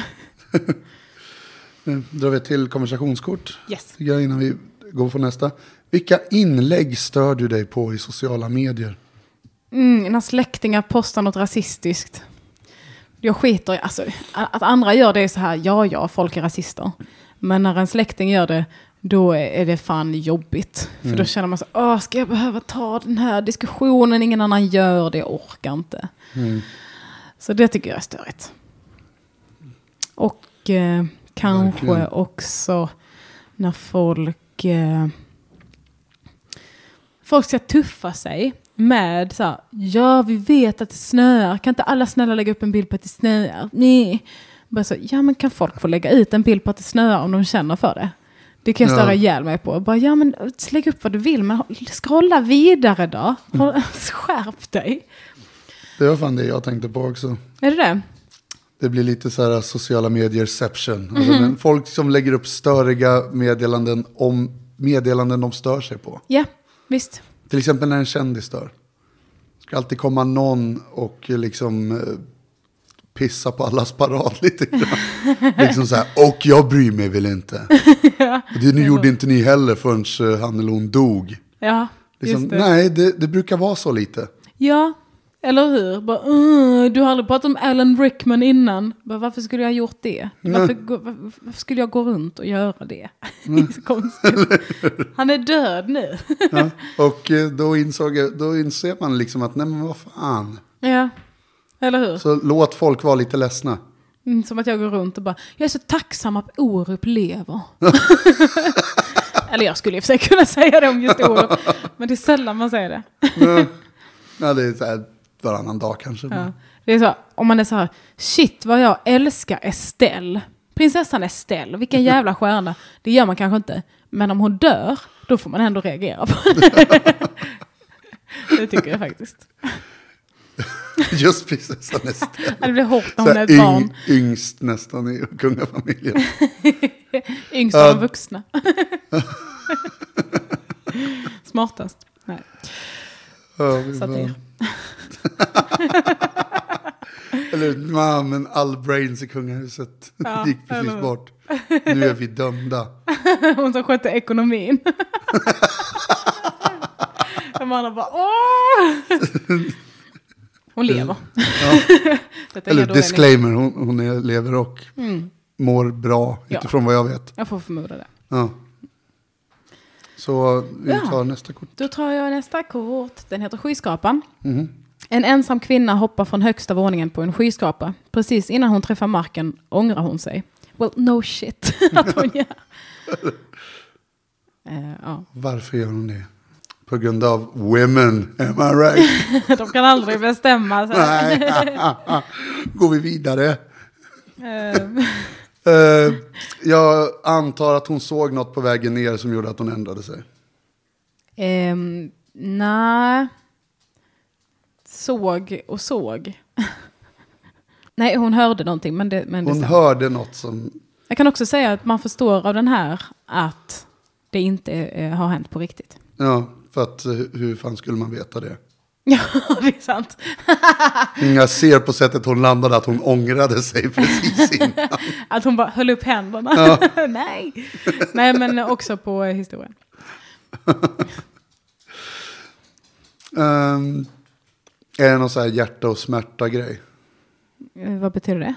Nu drar vi till konversationskort. Yes. tycker jag, innan vi går på nästa. Vilka inlägg stör du dig på i sociala medier? Mm, när släktingar postar något rasistiskt. Jag skiter i, alltså att andra gör det är så här, ja ja, folk är rasister. Men när en släkting gör det, då är det fan jobbigt. För då känner man så, Mm. åh, ska jag behöva ta den här diskussionen? Ingen annan gör det, jag orkar inte. Så det tycker jag är störigt. Och eh, kanske Verkligen. också när folk... Eh, folk ska tuffa sig med så här, ja vi vet att det snöar, kan inte alla snälla lägga upp en bild på att det snöar? Nej. Bara så, ja men kan folk få lägga ut en bild på att det snöar om de känner för det? Det kan jag Ja. störa ihjäl mig på. Bara, ja men lägg upp vad du vill, men scrolla vidare då. Mm. Skärp dig. Det var fan det jag tänkte på också. Är det det? Det blir lite så här sociala medierception. Alltså, men folk som lägger upp störiga meddelanden om meddelanden de stör sig på. Ja, visst. Till exempel när en kändis dör. Det ska alltid komma någon och liksom eh, pissa på allas parad lite grann. liksom så här, och jag bryr mig väl inte. Och det nu gjorde inte ni heller förrän eh, han eller hon dog. Ja, Liksom, just det. Nej, det, det brukar vara så lite. Ja, eller hur? Bara, "Uh, du har aldrig pratat om Alan Rickman innan. Bara, varför skulle jag ha gjort det? Nej. Varför, gå- varför varför skulle jag gå runt och göra det? Det är så konstigt. Han är död nu. Ja. Och eh, då, insåg, jag- då inser man liksom att nej men vad fan. ja, eller hur? Så låt folk vara lite ledsna. Mm, Som att jag går runt och bara, jag är så tacksam att Orup lever. eller jag skulle i och för sig kunna säga det om just Orup. men det är sällan man säger det. Ja, det är så här varannan dag kanske. Ja. Det är så, om man är så här, shit vad jag älskar Estelle. Prinsessan Estelle, vilken jävla stjärna. Det gör man kanske inte. Men om hon dör, då får man ändå reagera på det. det tycker jag faktiskt. Just prinsessan Estelle. Det blir hårt när Så hon är här ett barn. yng- yngst nästan i kungafamiljen. Yngst av de Ja. vuxna. Smartast. Nej. Ja, fy fan. Satir. Eller "Ma, men all brains i kungahuset Ja, gick precis eller hur? bort. Nu är vi dömda. Hon som skötte ekonomin. De andra bara åh! Hon lever. Detta är Eller ändå en- disclaimer, hon, hon är, lever och mår bra Ja. utifrån vad jag vet. Jag får förmoda det. Ja. Så vi Ja. tar nästa kort. Då tar jag nästa kort. Den heter Skyskrapan. Mhm. En ensam kvinna hoppar från högsta våningen på en skyskrapa. Precis innan hon träffar marken ångrar hon sig. Well, no shit att hon gör. Eh, ja. Varför gör hon det? På grund av women, am I right? De kan aldrig bestämma sig. Nej, går vi vidare. Eh, Eh, jag antar att hon såg något på vägen ner som gjorde att hon ändrade sig. ehm, Nej. Såg och såg. Nej, hon hörde någonting, men det, men det Hon stämmer. hörde något som... Jag kan också säga att man förstår av den här att det inte eh, har hänt på riktigt. Ja, för att eh, hur fan skulle man veta det? Ja, det är sant. Jag ser på sättet hon landade att hon ångrade sig precis innan. Att hon bara höll upp händerna. Nej. Nej, men också på eh, historien. Ehm, är det någon så här hjärta och smärta grej? Eh, Vad betyder det?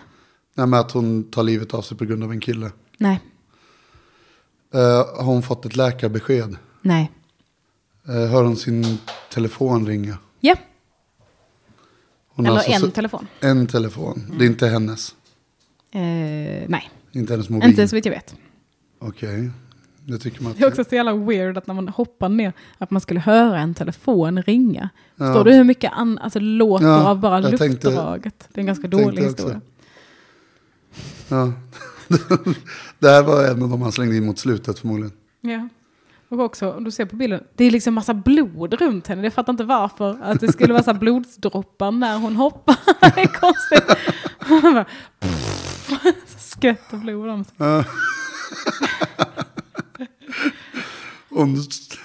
Nej, men att hon tar livet av sig på grund av en kille. Nej. Eh, har hon fått ett läkarbesked? Nej. Eh, hör hon sin telefon ringa? Ja, Hon har eller alltså en så- telefon. en telefon. Det är inte hennes. Eh, nej, Inte hennes mobil. inte så vitt jag vet. Okej. Det tycker man att... Det är också så jävla weird att när man hoppar ner att man skulle höra en telefon ringa. Ja. Förstår du hur mycket an, alltså, låter Ja, av bara jag tänkte- luftdraget? det är en ganska tänkte dålig också. historia. Ja. det här var en av de han slängde in mot slutet förmodligen. Ja. Och också, om du ser på bilden, det är liksom massa blod runt henne. Jag fattar inte varför. Att det skulle vara så här blodsdroppar när hon hoppar. Det är konstigt. Hon bara, så Skvätter blod om sig. Ja. hon,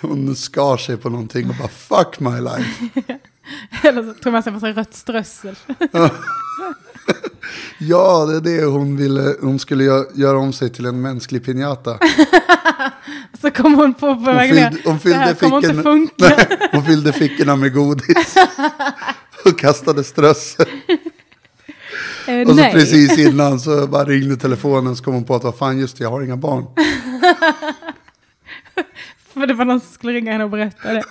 hon skar sig på någonting och bara fuck my life. Eller så tog man sig en massa rött strössel. Ja, det är det hon ville. Hon skulle gö- göra om sig till en mänsklig piñata. Så kom hon på på Hon vägen fyllde, ner. hon Det fyllde, här kommer inte fickorna, funka. nej, hon fyllde fickorna med godis. Och kastade strössel. Eh, Och så nej. precis innan så bara ringde telefonen så kom hon på att vad fan just det, jag har inga barn. För det var någon som skulle ringa henne och berätta det.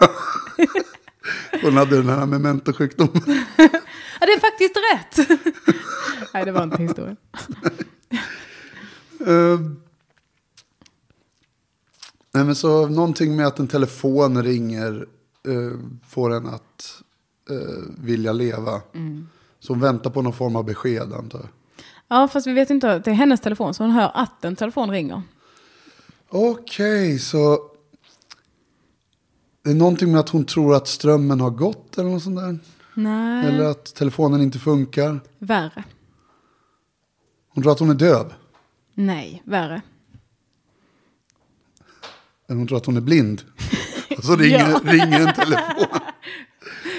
Hon hade den här mementosjukdomen. Ja, det är faktiskt rätt. Nej, det var inte historien. Eh, nej men så någonting med att en telefon ringer eh, får en att eh, vilja leva. Så hon väntar på någon form av besked antar jag. Ja, fast vi vet inte att det är hennes telefon, så hon hör att en telefon ringer. Okej, så det är någonting med att hon tror att strömmen har gått eller något sånt där. Nej, Eller att telefonen inte funkar. värre. Hon tror att hon är döv. Nej, värre. Eller hon tror att hon är blind. Och så ringer, ringer en telefon.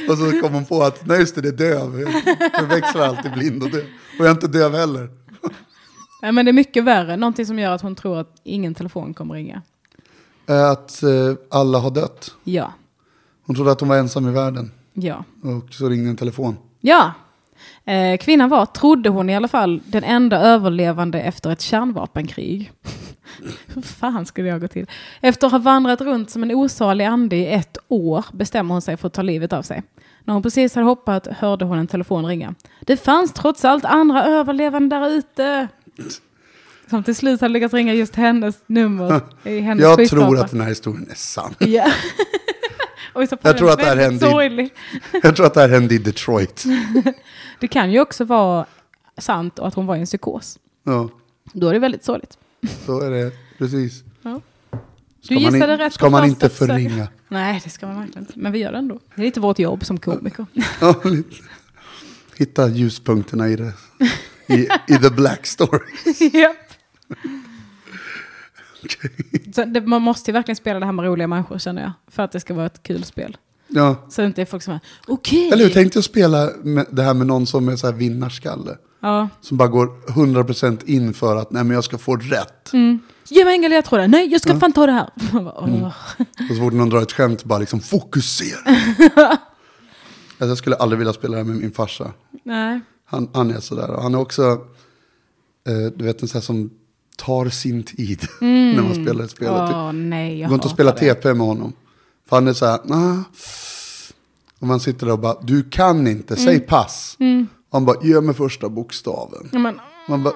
Och så kommer hon på att nej just det, det är döv. Jag förväxlar alltid blind och döv. Och jag är inte döv heller. Nej, men det är mycket värre. Någonting som gör att hon tror att ingen telefon kommer ringa. Eh, Att eh, alla har dött. Ja, Hon trodde att hon var ensam i världen. ja, Och så ringde en telefon. ja. Eh, kvinnan var, trodde hon i alla fall, den enda överlevande efter ett kärnvapenkrig. Hur fan skulle jag gå till? Efter att ha vandrat runt som en osalig ande i ett år bestämmer hon sig för att ta livet av sig. När hon precis hade hoppat hörde hon en telefon ringa. Det fanns trots allt andra överlevande där ute. Som till slut hade lyckats ringa just hennes nummer i hennes Jag skyskrapa. tror att den här historien är sann. Ja. Oj, så på Jag den tror att det här väldigt hände i- sorglig. Jag tror att det här hände i Detroit. Det kan ju också vara sant och att hon var i en psykos. Ja, Då är det väldigt sorgligt. så är det. Precis. Ja. Ska Du man gissade in- rätt Ska på man fast inte att säga. förringa. Nej, det ska man verkligen inte. Men vi gör det ändå. Det är lite vårt jobb som komiker. Ja, lite. Hitta ljuspunkterna i det. I, I the black story. Japp. Så det, man måste ju verkligen spela det här med roliga människor känner jag. För att det ska vara ett kul spel. Ja. Så det inte är folk som är okej. Eller hur, tänkte jag spela med det här med någon som är så här vinnarskalle. Ja. Som bara går 100% in för att nej men jag ska få rätt. Mm. Ge mig en ledtrådar. Nej, jag ska fan ta det här. Man bara, Mm. åh. Och så fort någon drar ett skämt bara liksom fokusera. alltså, jag skulle aldrig vilja spela det här med min farsa. Nej. Han, han är sådär och han är också, eh, du vet en sån här som tar sin tid när man spelar ett spel. Jag tycker- Mm. Åh, nej, Det jag går inte att hatar spela det. TP med honom. För han är så här, nah. Och man sitter där och bara, du kan inte, Mm. säg pass. Och han bara, ge mig första bokstaven. Ja, men, Man bara,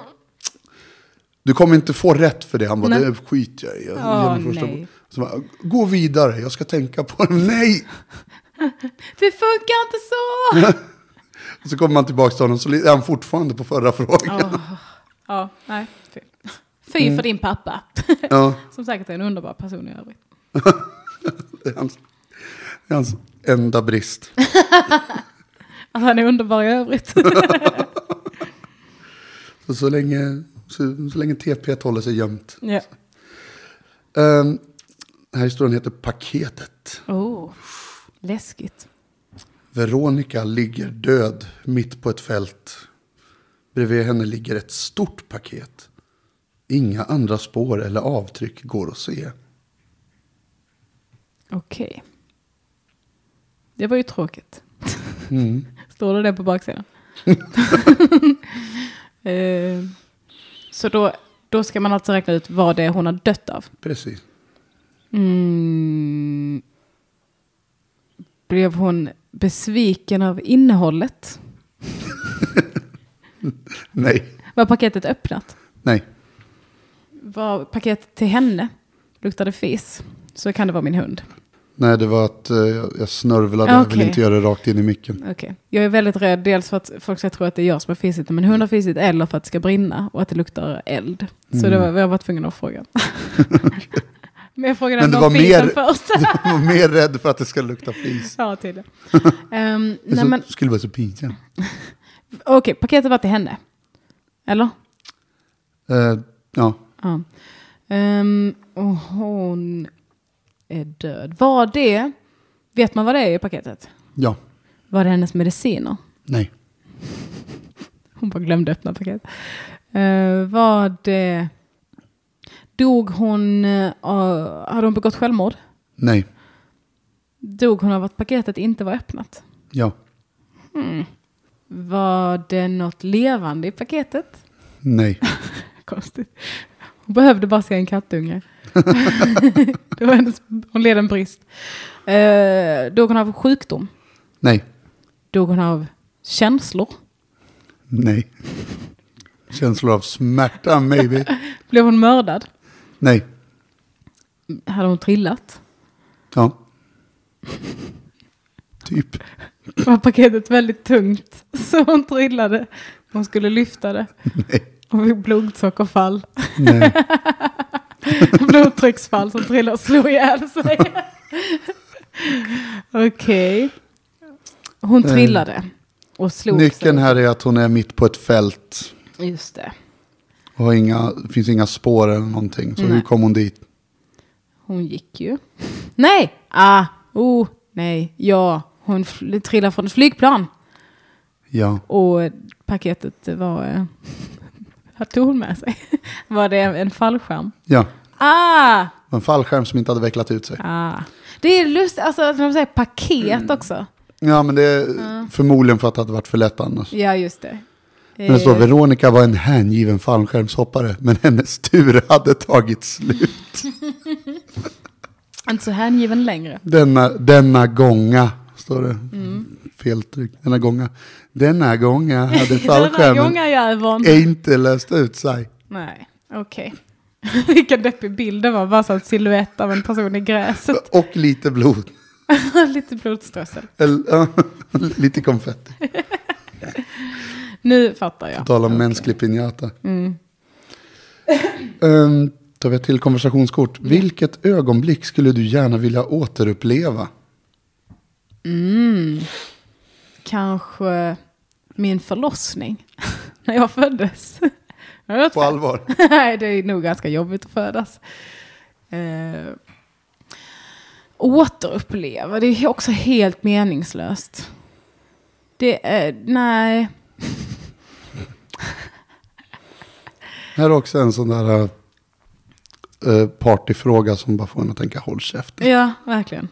du kommer inte få rätt för det. Han bara, Nej. det skiter jag i. Jag Åh, ger mig första nej. bok-" Så bara, Gå vidare, jag ska tänka på det. Nej! det funkar inte så! Och så kommer man tillbaka till honom, så är han fortfarande på förra frågan. Åh. Ja, nej. Fy, Fy för din pappa. Ja, Som säkert är en underbar person i övrigt. det, är hans, det är hans enda brist. Att Alltså, han är underbar i övrigt. Så, så, länge, så, så länge TP håller sig gömt. ja. Um, den här historien heter Paketet. oh, läskigt. Veronica ligger död mitt på ett fält. Bredvid henne ligger ett stort paket. Inga andra spår eller avtryck går att se. Okej. Det var ju tråkigt. Mm. Står det det på baksidan? eh, så då, då ska man alltså räkna ut vad det är hon har dött av. Precis. Mm. Blev hon besviken av innehållet? Nej, Var paketet öppnat? nej. Var paketet till henne? Luktade fis? Så kan det vara min hund. Nej, det var att eh, jag- jag snörvlade. Ah, Jag vill okej. inte göra det rakt in i micken. Okej. Jag är väldigt rädd, dels för att folk ska tro att det är jag som har fisit, men hund har fisit, eller för att det ska brinna och att det luktar eld. Så det Mm. var, jag var tvungen att fråga. men jag frågade Men det ändå var om fisen mer- först. Jag var mer rädd för att det ska lukta fis. ja, tydligen. Ehm, Det nej, men, så, skulle vara så pinsamt. Okej, paketet var till henne. Eller? Eh, ja, Ja. Ehm, och hon är död. Var det, vet man vad det är i paketet? ja, Var det hennes mediciner? nej. Hon bara glömde öppna paketet. Eh, var det... Dog hon... eh, av- hade hon begått självmord? Nej, Dog hon av att paketet inte var öppnat? ja, Var det något levande i paketet? nej. Konstigt. Hon behövde bara se en kattunge. det var hennes, hon led en brist. Eh, dog hon av sjukdom? Nej, Dog hon av Känslor. Nej. Känslor av smärta, maybe. Blev hon mördad? Nej. Hade hon trillat? Ja. Typ. Var paketet väldigt tungt? Så hon trillade. Hon skulle lyfta det. Nej. Hon fick blodsockerfall. Nej. Blodtrycksfall som trillade och slog ihjäl sig. Okej. Hon Eh, trillade. Och slog Nyckeln sig. här är att hon är mitt på ett fält. Just det. Och har inga, det finns inga spår eller någonting. Så Nej. hur kom hon dit? Hon gick ju. Nej! Ah! Oh! Nej. Ja. Hon fl- trillade från ett flygplan. Ja. Och paketet var... eh, Vad tog hon med sig? Var det en fallskärm? Ja. Ah! En fallskärm som inte hade vecklat ut sig. ah. Det är lustigt, alltså när de säger paket också. Ja, men det är förmodligen för att det hade varit för lätt annars. Ja, just det. Men det står Eh, Veronica var en hängiven fallskärmshoppare, men hennes tur hade tagit slut. Inte så hängiven längre. Mm. Denna, denna gånga, står det. Feltryck. Denna gånga. Denna gånga hade Denna fallskärmen gånga jäveln. inte löst ut sig. Nej, okej. Vilken deppig bild det var, bara så en silhuett av en person i gräset. Och lite blod. Lite blodströssel. Eller, ja, lite konfetti. Nu fattar På jag. Mm. tal om mänsklig piñata. Ehm, tar vi ett till konversationskort. Vilket ögonblick skulle du gärna vilja återuppleva? Kanske min förlossning. När jag föddes. Jag vet På allvar. Nej, det är nog ganska jobbigt att födas. Eh, återuppleva, det är också helt meningslöst. Det är, nej. Här är också en sån där eh, partyfråga som bara får en att tänka håll käften. Ja, verkligen.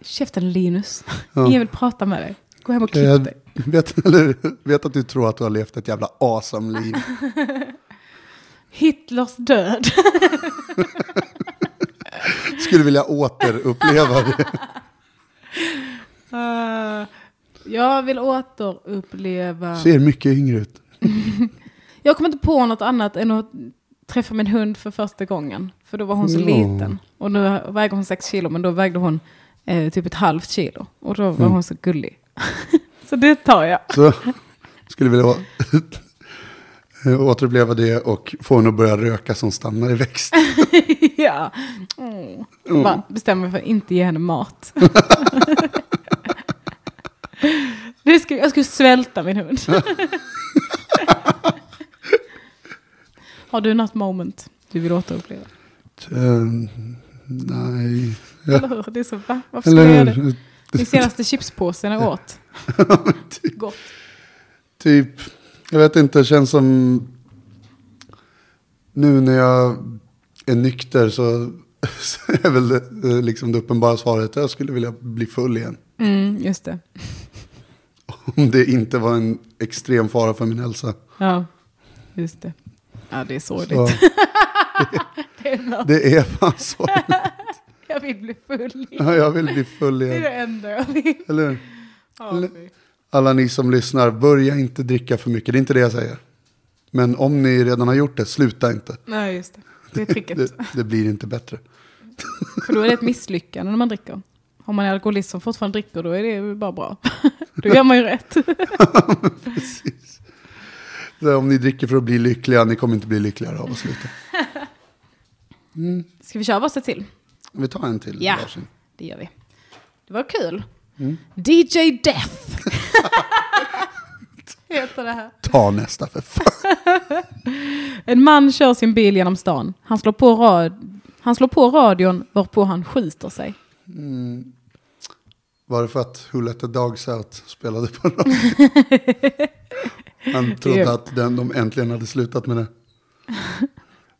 Käften Linus. Ja. Ingen vill prata med dig. Gå hem och klipp Jag dig. vet, eller, vet att du tror att du har levt ett jävla awesome liv. Hitlers död. Skulle vilja återuppleva det. Eh, jag vill återuppleva... Ser mycket yngre ut. Jag kommer inte på något annat än att träffa min hund för första gången. För då var hon så Ja. liten. Och nu väger hon sex kilo, men då vägde hon eh, typ ett halvt kilo. Och då var Mm. hon så gullig. så det tar jag. Så skulle vilja å- eh, återuppleva det och få henne att börja röka som stannar i växt. ja. Mm. Bara bestämmer mig för att inte ge henne mat. det skulle, jag skulle svälta min hund. Har du något moment du vill återuppleva? Eh, nej. Ja. Eller hur? Det är så, va? Varför skulle jag göra Eller det? hur? Min senaste chipspåse jag åt. Gott. Typ, jag vet inte, känns som nu när jag är nykter så, så är väl det, eh, liksom det uppenbara svaret jag skulle vilja bli full igen. Mm, just det. Om det inte var en extrem fara för min hälsa. Ja, just det. Ja, det är sorgligt. Så Det är mörkt. det är fan så. Jag vill bli full. Ja, jag vill bli full Det är det igen. enda jag vill. Eller hur? Ja, fy. Alla ni som lyssnar, börja inte dricka för mycket. Det är inte det jag säger. Men om ni redan har gjort det, sluta inte. Nej, just det. Det är tricket. Det, det blir inte bättre. För då är det ett misslyckande när man dricker. Om man är alkoholist som fortfarande dricker, då är det ju bara bra. Då gör man ju rätt. Precis. Så om ni dricker för att bli lyckliga, ni kommer inte bli lyckligare av att sluta. Mm, Ska vi köra varsitt till? Vi tar en till. Ja. varsin. Det gör vi. Det var kul. Mm. DJ Death. Heter det här. Ta nästa för fan. En man kör sin bil genom stan. Han slår på, rad- han slår på radion varpå han skjuter sig. Mm. Var det för att Who Let The Dogs Out spelade på radio? Han trodde att den, de äntligen hade slutat med det.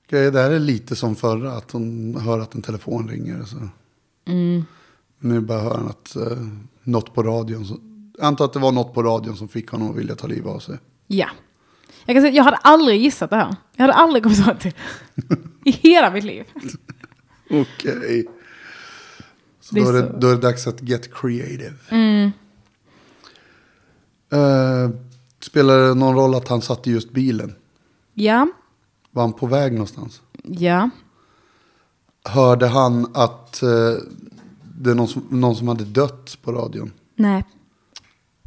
Okej, det här är lite som förra, att hon hör att en telefon ringer. Så. Mm. Nu bara hör han att eh, något på radion. Så, jag antar att det var något på radion som fick honom att vilja ta livet av sig. Ja. Jag kan säga, jag hade aldrig gissat det här. Jag hade aldrig kommit fram till det. I hela mitt liv. Okej. Så Det är då är, Mm. det, så. då är det dags att get creative. Eh, spelade det någon roll att han satt i just bilen? Ja, Var han på väg någonstans? ja, Hörde han att eh, det är någon som, någon som hade dött på radion? nej,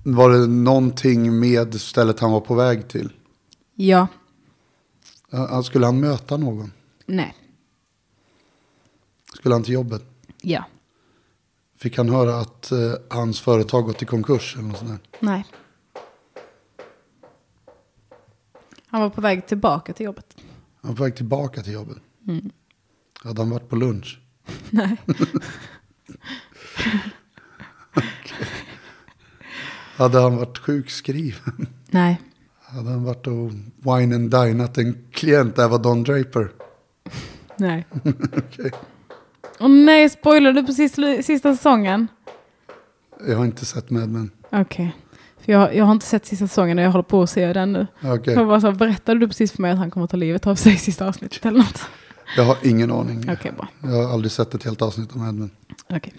Var det någonting med stället han var på väg till? ja, Eh, skulle han möta någon? nej, Skulle han till jobbet? ja, Fick han höra att eh, hans företag gått i konkurs eller något sånt där? nej. Han var på väg tillbaka till jobbet. Han var på väg tillbaka till jobbet. Hade han varit på lunch? Mm. Nej. Hade han varit sjukskriven? Nej. Hade han varit och wine and dinat en klient? Det här var Don Draper. Nej. Okej. Åh nej, spoilar du precis slu- sista säsongen? Jag har inte sett Mad Men. Okej. För jag, jag har inte sett sista säsongen och jag håller på att se den nu. Okej. Jag bara så här, berättade du precis för mig att han kommer att ta livet av sig i sista avsnittet eller något? Jag har ingen aning. Okej, bra. Jag har aldrig sett ett helt avsnitt av Mad Men. Okej.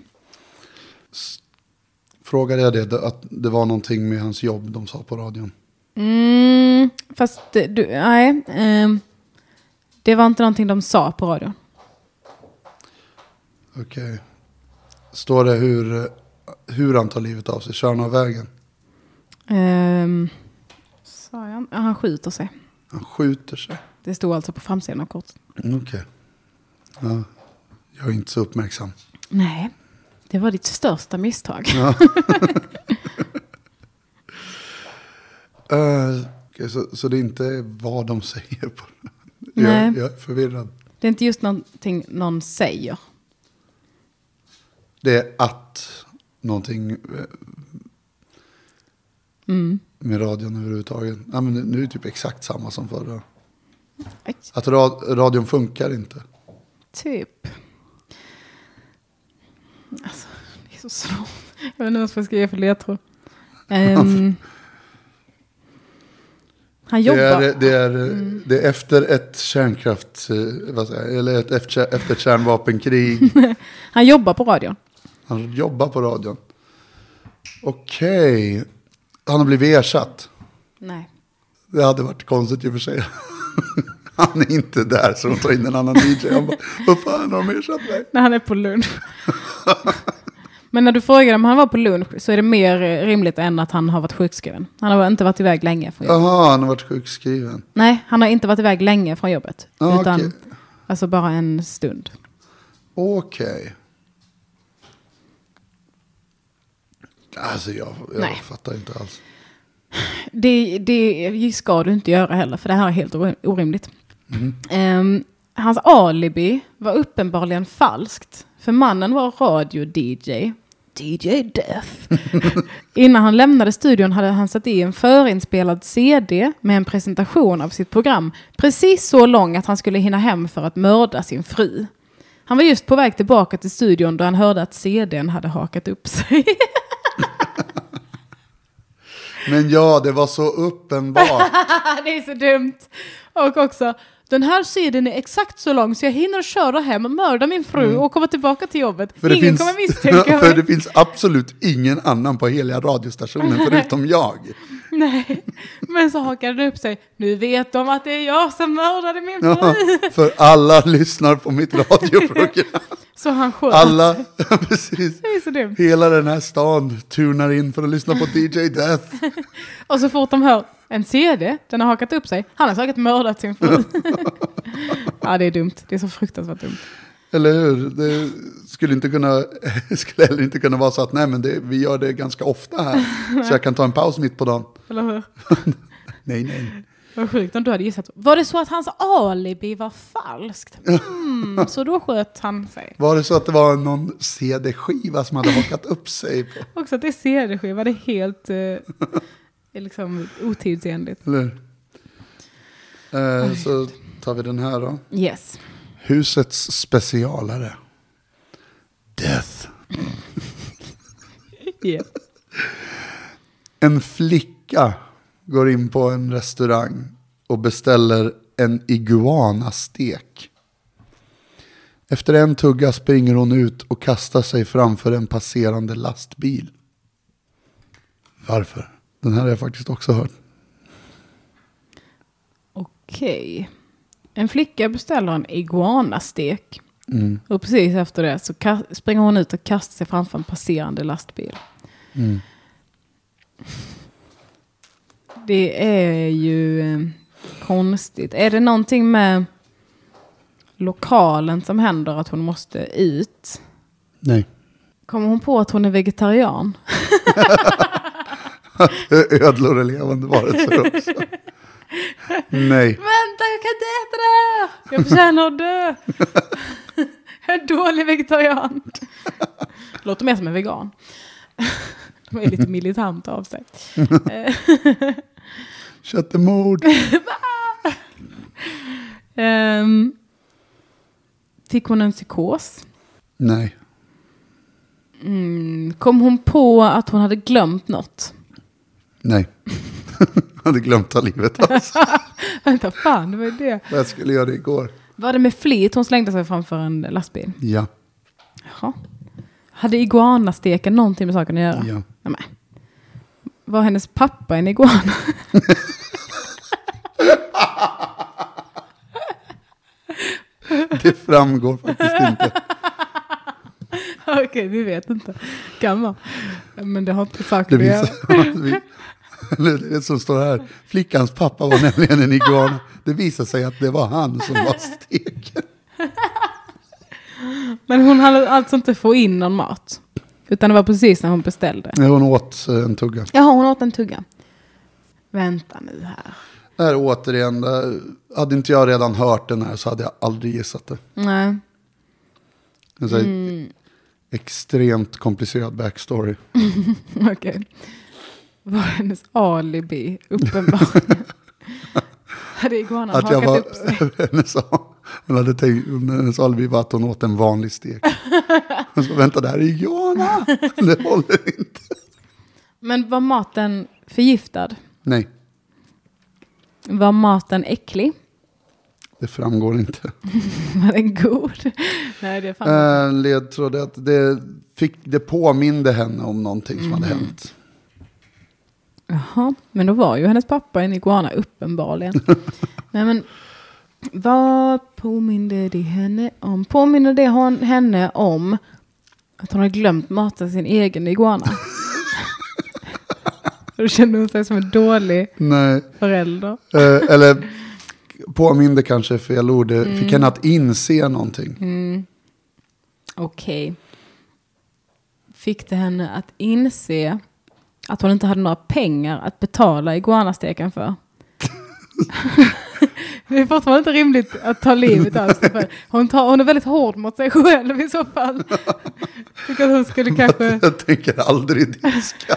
Frågade jag det, det, att det var någonting med hans jobb de sa på radion? Mm, fast det- du, nej. ehm, det var inte någonting de sa på radion. Okej. Står det hur, hur han tar livet av sig? Kör han av vägen? Ehm, sa jag? Ja, han skjuter sig. Han skjuter sig. Det stod alltså på framsidan av kortet. Mm, Okej. Ja, jag är inte så uppmärksam. Nej, det var ditt största misstag. Eh, okej, så, så det är inte vad de säger? På. Nej. Jag, jag är förvirrad. Det är inte just någonting någon säger. Det är att någonting eh, Mm. med radion överhuvudtaget. Ja, men nu- nu är det typ exakt samma som förra. Aj, Att ra- radion funkar inte. Typ. Alltså, det är så svårt. Jag vet inte ens vad jag ska ge för ledtråd. Ehm, han jobbar. Det är, det, är, eh, det är efter ett kärnkraft... eh, Vad säger, jag, eller ett, efter, efter ett kärnvapenkrig. Han jobbar på radion. Han jobbar på radion. Okej. Han har blivit ersatt. Nej. Det hade varit konstigt i och för sig. Han är inte där så de tar in en annan DJ. Han bara, vad fan har de ersatt mig? När han är på lunch. Men när du frågar om han var på lunch så är det mer eh, rimligt än att han har varit sjukskriven. Han har inte varit iväg länge från jobbet. Jaha, han har varit sjukskriven. Nej, han har inte varit iväg länge från jobbet. Ja, utan okej. alltså bara en stund. Okej. Alltså jag, jag Nej. fattar inte alls. Det, det ska du inte göra heller, för det här är helt orim- orimligt. Ehm, hans alibi var uppenbarligen falskt, för mannen var radio-DJ. DJ Death. Innan han lämnade studion hade han satt i en förinspelad CD med en presentation av sitt program. Precis så lång att han skulle hinna hem för att mörda sin fru. Han var just på väg tillbaka till studion då han hörde att CDn hade hakat upp sig. Men ja, det var så uppenbart. Ah, det är så dumt. Och också, den här sidan är exakt så lång så jag hinner köra hem och mörda min fru och komma tillbaka till jobbet. Mm. För det Ingen finns- kommer misstänka För mig. det finns absolut ingen annan på heliga radiostationen förutom jag. Nej. Men så hakade den upp sig. Nu vet de att det är jag som mördade min fru. Ja, för alla lyssnar på mitt radioprogram. Så han sköt. Alla, precis. Det är så dumt. Hela den här stan tunar in för att lyssna på DJ Death. Och så fort de hör en CD, den har hakat upp sig. Han har säkert mördat sin fru. ja, det är dumt. Det är så fruktansvärt dumt. Eller hur? Det skulle, inte kunna, skulle heller inte kunna vara så att nej, men det, vi gör det ganska ofta här. Så jag kan ta en paus mitt på dagen. Eller hur? Nej, nej. Vad sjukt om du hade gissat. Var det så att hans alibi var falskt? Mm, så då sköt han sig. Var det så att det var någon CD-skiva som hade hakat upp sig? På, Också att det är CD-skiva, det är helt eh, liksom otidsenligt. eller hur? Eh, så tar vi den här då. Yes. Husets specialare. Death. Yeah. En flicka går in på en restaurang och beställer en iguanastek. Efter en tugga springer hon ut och kastar sig framför en passerande lastbil. Varför? Den här har jag faktiskt också hört. Okej. En flicka beställer en iguanastek. Mm. Och precis efter det så ka- springer hon ut och kastar sig framför en passerande lastbil. Mm. Det är ju eh, konstigt. Är det någonting med lokalen som händer att hon måste ut? Nej. Kommer hon på att hon är vegetarian? Ödlor är levande varelser också. Nej. Vänta, jag kan inte äta det här! Jag förtjänar att dö! Jag är en dålig vegetarian. Låter mer som en vegan. De är lite militant av sig. Eh, Shut the mood. ehm, Fick hon en psykos? Nej. Mm, Kom hon på att hon hade glömt något? Nej. Jag hade glömt ta livet av alltså. Vänta, fan, det var ju det. Jag skulle göra det igår. Var det med flit hon slängde sig framför en lastbil? Ja. Jaha. Hade iguanasteken någonting med saken att göra? Ja. Nej, men. Var hennes pappa en iguana? Det framgår faktiskt inte. Okej, vi vet inte. Gammal. Men det har inte sagt Det att göra. finns... Eller Det är det som står här. Flickans pappa var nämligen en iguana. Det visade sig att det var han som var steken. Men hon hade alltså inte få in någon mat. Utan det var precis när hon beställde. Nej, Hon åt eh, en tugga. Jaha, hon åt en tugga. Vänta nu här. Det här är återigen, där, hade inte jag redan hört den här så hade jag aldrig gissat det. Nej. Det är så här Extremt komplicerad backstory. Okej. Var hennes alibi uppenbarligen? Hade iguanan Att jag hakat var, upp sig? hennes, hon hade tänkt, hennes alibi var att hon åt en vanlig stek. Och så vänta, det här är Jana! Det håller inte. Men var maten förgiftad? Nej, Var maten äcklig? det framgår inte. Var den god? Nej, det är fan Äh, ledtråd är att det, fick, det påminde henne om någonting som Mm. hade hänt. Jaha, men då var ju hennes pappa en iguana uppenbarligen. Nej men, vad påminner det henne om? Påminner det hon, henne om att hon har glömt mata sin egen iguana? Då kände hon sig som en dålig Nej, förälder. eh, eller påminde kanske är fel ord. Det Mm. Fick henne att inse någonting. Okej. Fick det henne att inse att hon inte hade några pengar att betala iguanasteken för? det är fortfarande inte rimligt att ta livet av sig. för. Hon, tar, hon är väldigt hård mot sig själv i så fall. Tycker att hon skulle kanske... Jag tänker aldrig diska.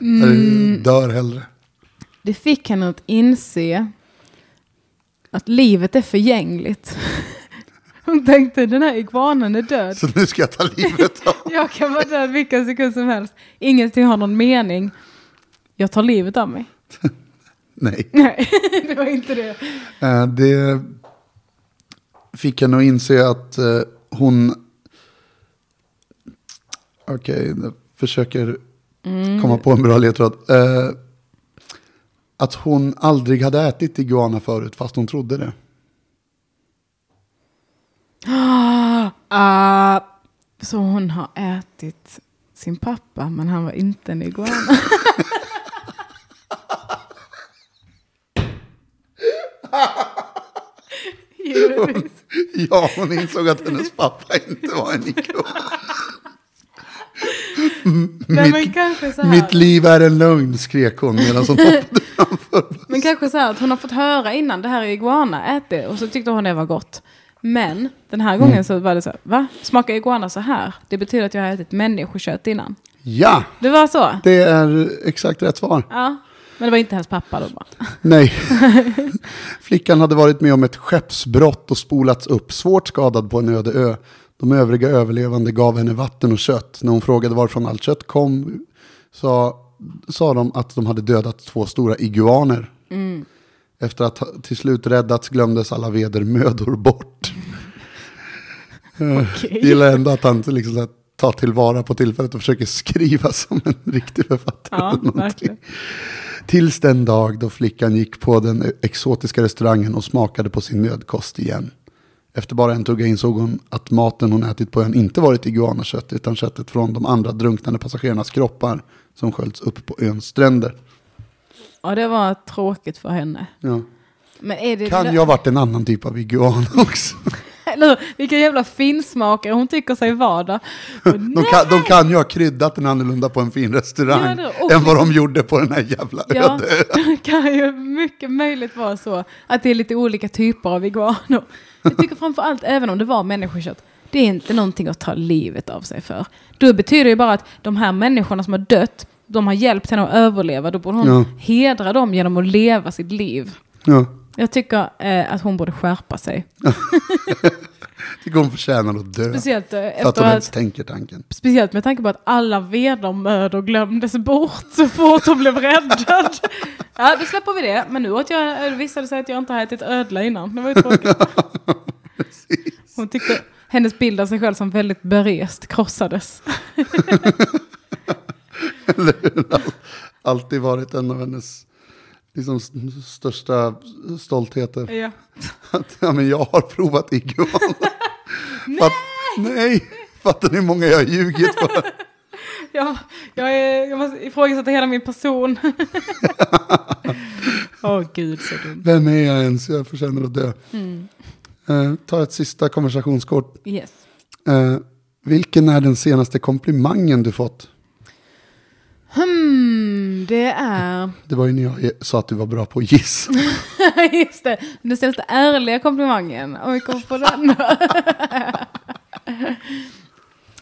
Mm. Eller Dör hellre. Det fick henne att inse att livet är förgängligt. Hon tänkte den här iguanan är död. Så nu ska jag ta livet av Jag kan vara död vilken sekund som helst. Ingenting har någon mening. Jag tar livet av mig. Nej, Nej, det var inte det. eh, det fick henne att inse att eh, hon... Okej, jag försöker komma på en bra ledtråd. Eh, Att hon aldrig hade ätit iguana förut, fast hon trodde det. Ah, så hon har ätit sin pappa, men han var inte en iguana. Givetvis. Ja, hon insåg att hennes pappa inte var en iguana. Nej, men kanske så här. Mitt liv är en lögn, skrek hon medan hon hoppade. Men kanske så här att hon har fått höra innan, det här är iguana, ät det. Och så tyckte hon det var gott. Men den här Mm. gången så var det så här, va? Smakar iguana så här? Det betyder att jag har ätit människokött innan. Ja, Det var så? det är exakt rätt svar. Ja. Men det var inte hennes pappa då bara. Nej. Flickan hade varit med om ett skeppsbrott och spolats upp svårt skadad på en öde ö. De övriga överlevande gav henne vatten och kött. När hon frågade varifrån allt kött kom sa, sa de att de hade dödat två stora iguaner. Mm. Efter att ha- till slut räddats glömdes alla vedermödor bort. Okej. Jag gillar ändå att han liksom så här ta tillvara på tillfället och försöker skriva som en riktig författare. Ja, eller någonting. verkligen. Tills den dag då flickan gick på den exotiska restaurangen och smakade på sin nödkost igen. Efter bara en tugga insåg hon att maten hon ätit på ön inte varit iguanakött utan köttet från de andra drunknande passagerarnas kroppar som sköljts upp på öns stränder. Ja, det var tråkigt för henne. Ja. Men är det Kan jag ha varit en annan typ av iguana också? Eller hur? Vilken jävla finsmakare hon tycker sig vara då. De kan, de kan ju ha kryddat den annorlunda på en fin Ja, restaurang det- och- än vad de gjorde på den här jävla Ja, ön. det kan ju mycket möjligt vara så att det är lite olika typer av iguanor. Jag tycker framförallt, även om det var människokött, det är inte någonting att ta livet av sig för. Då betyder det ju bara att de här människorna som har dött, de har hjälpt henne att överleva. Då borde hon Ja. hedra dem genom att leva sitt liv. Ja. Jag tycker eh, att hon borde skärpa sig. Tycker hon förtjänar att dö. Speciellt, eh, för att efter hon att, ens tänker tanken. speciellt med tanke på att alla vedermödor glömdes bort så fort hon blev räddad. Ja, då släpper vi det. Men nu åt jag, eh, visade det sig att jag inte har ätit ödla innan. Det var ju tråkigt. Hon tyckte hennes bild av sig själv som väldigt berest krossades. Eller hur? All- Alltid varit en av hennes liksom, st- största stoltheter. Ja. Att ja, men jag har provat iguana. Fatt, nej! Fattar ni hur många jag har ljugit för? Jag, jag, är, jag måste ifrågasätta hela min person. Åh gud så dumt. Vem är jag ens? Jag förtjänar att dö. Eh, ta ett sista konversationskort. Mm. Yes. Eh, vilken är den senaste komplimangen du fått? Hmm, det är... Det var ju när jag ge- sa att du var bra på att gissa. Just det, den senaste ärliga komplimangen. Om vi kommer på den.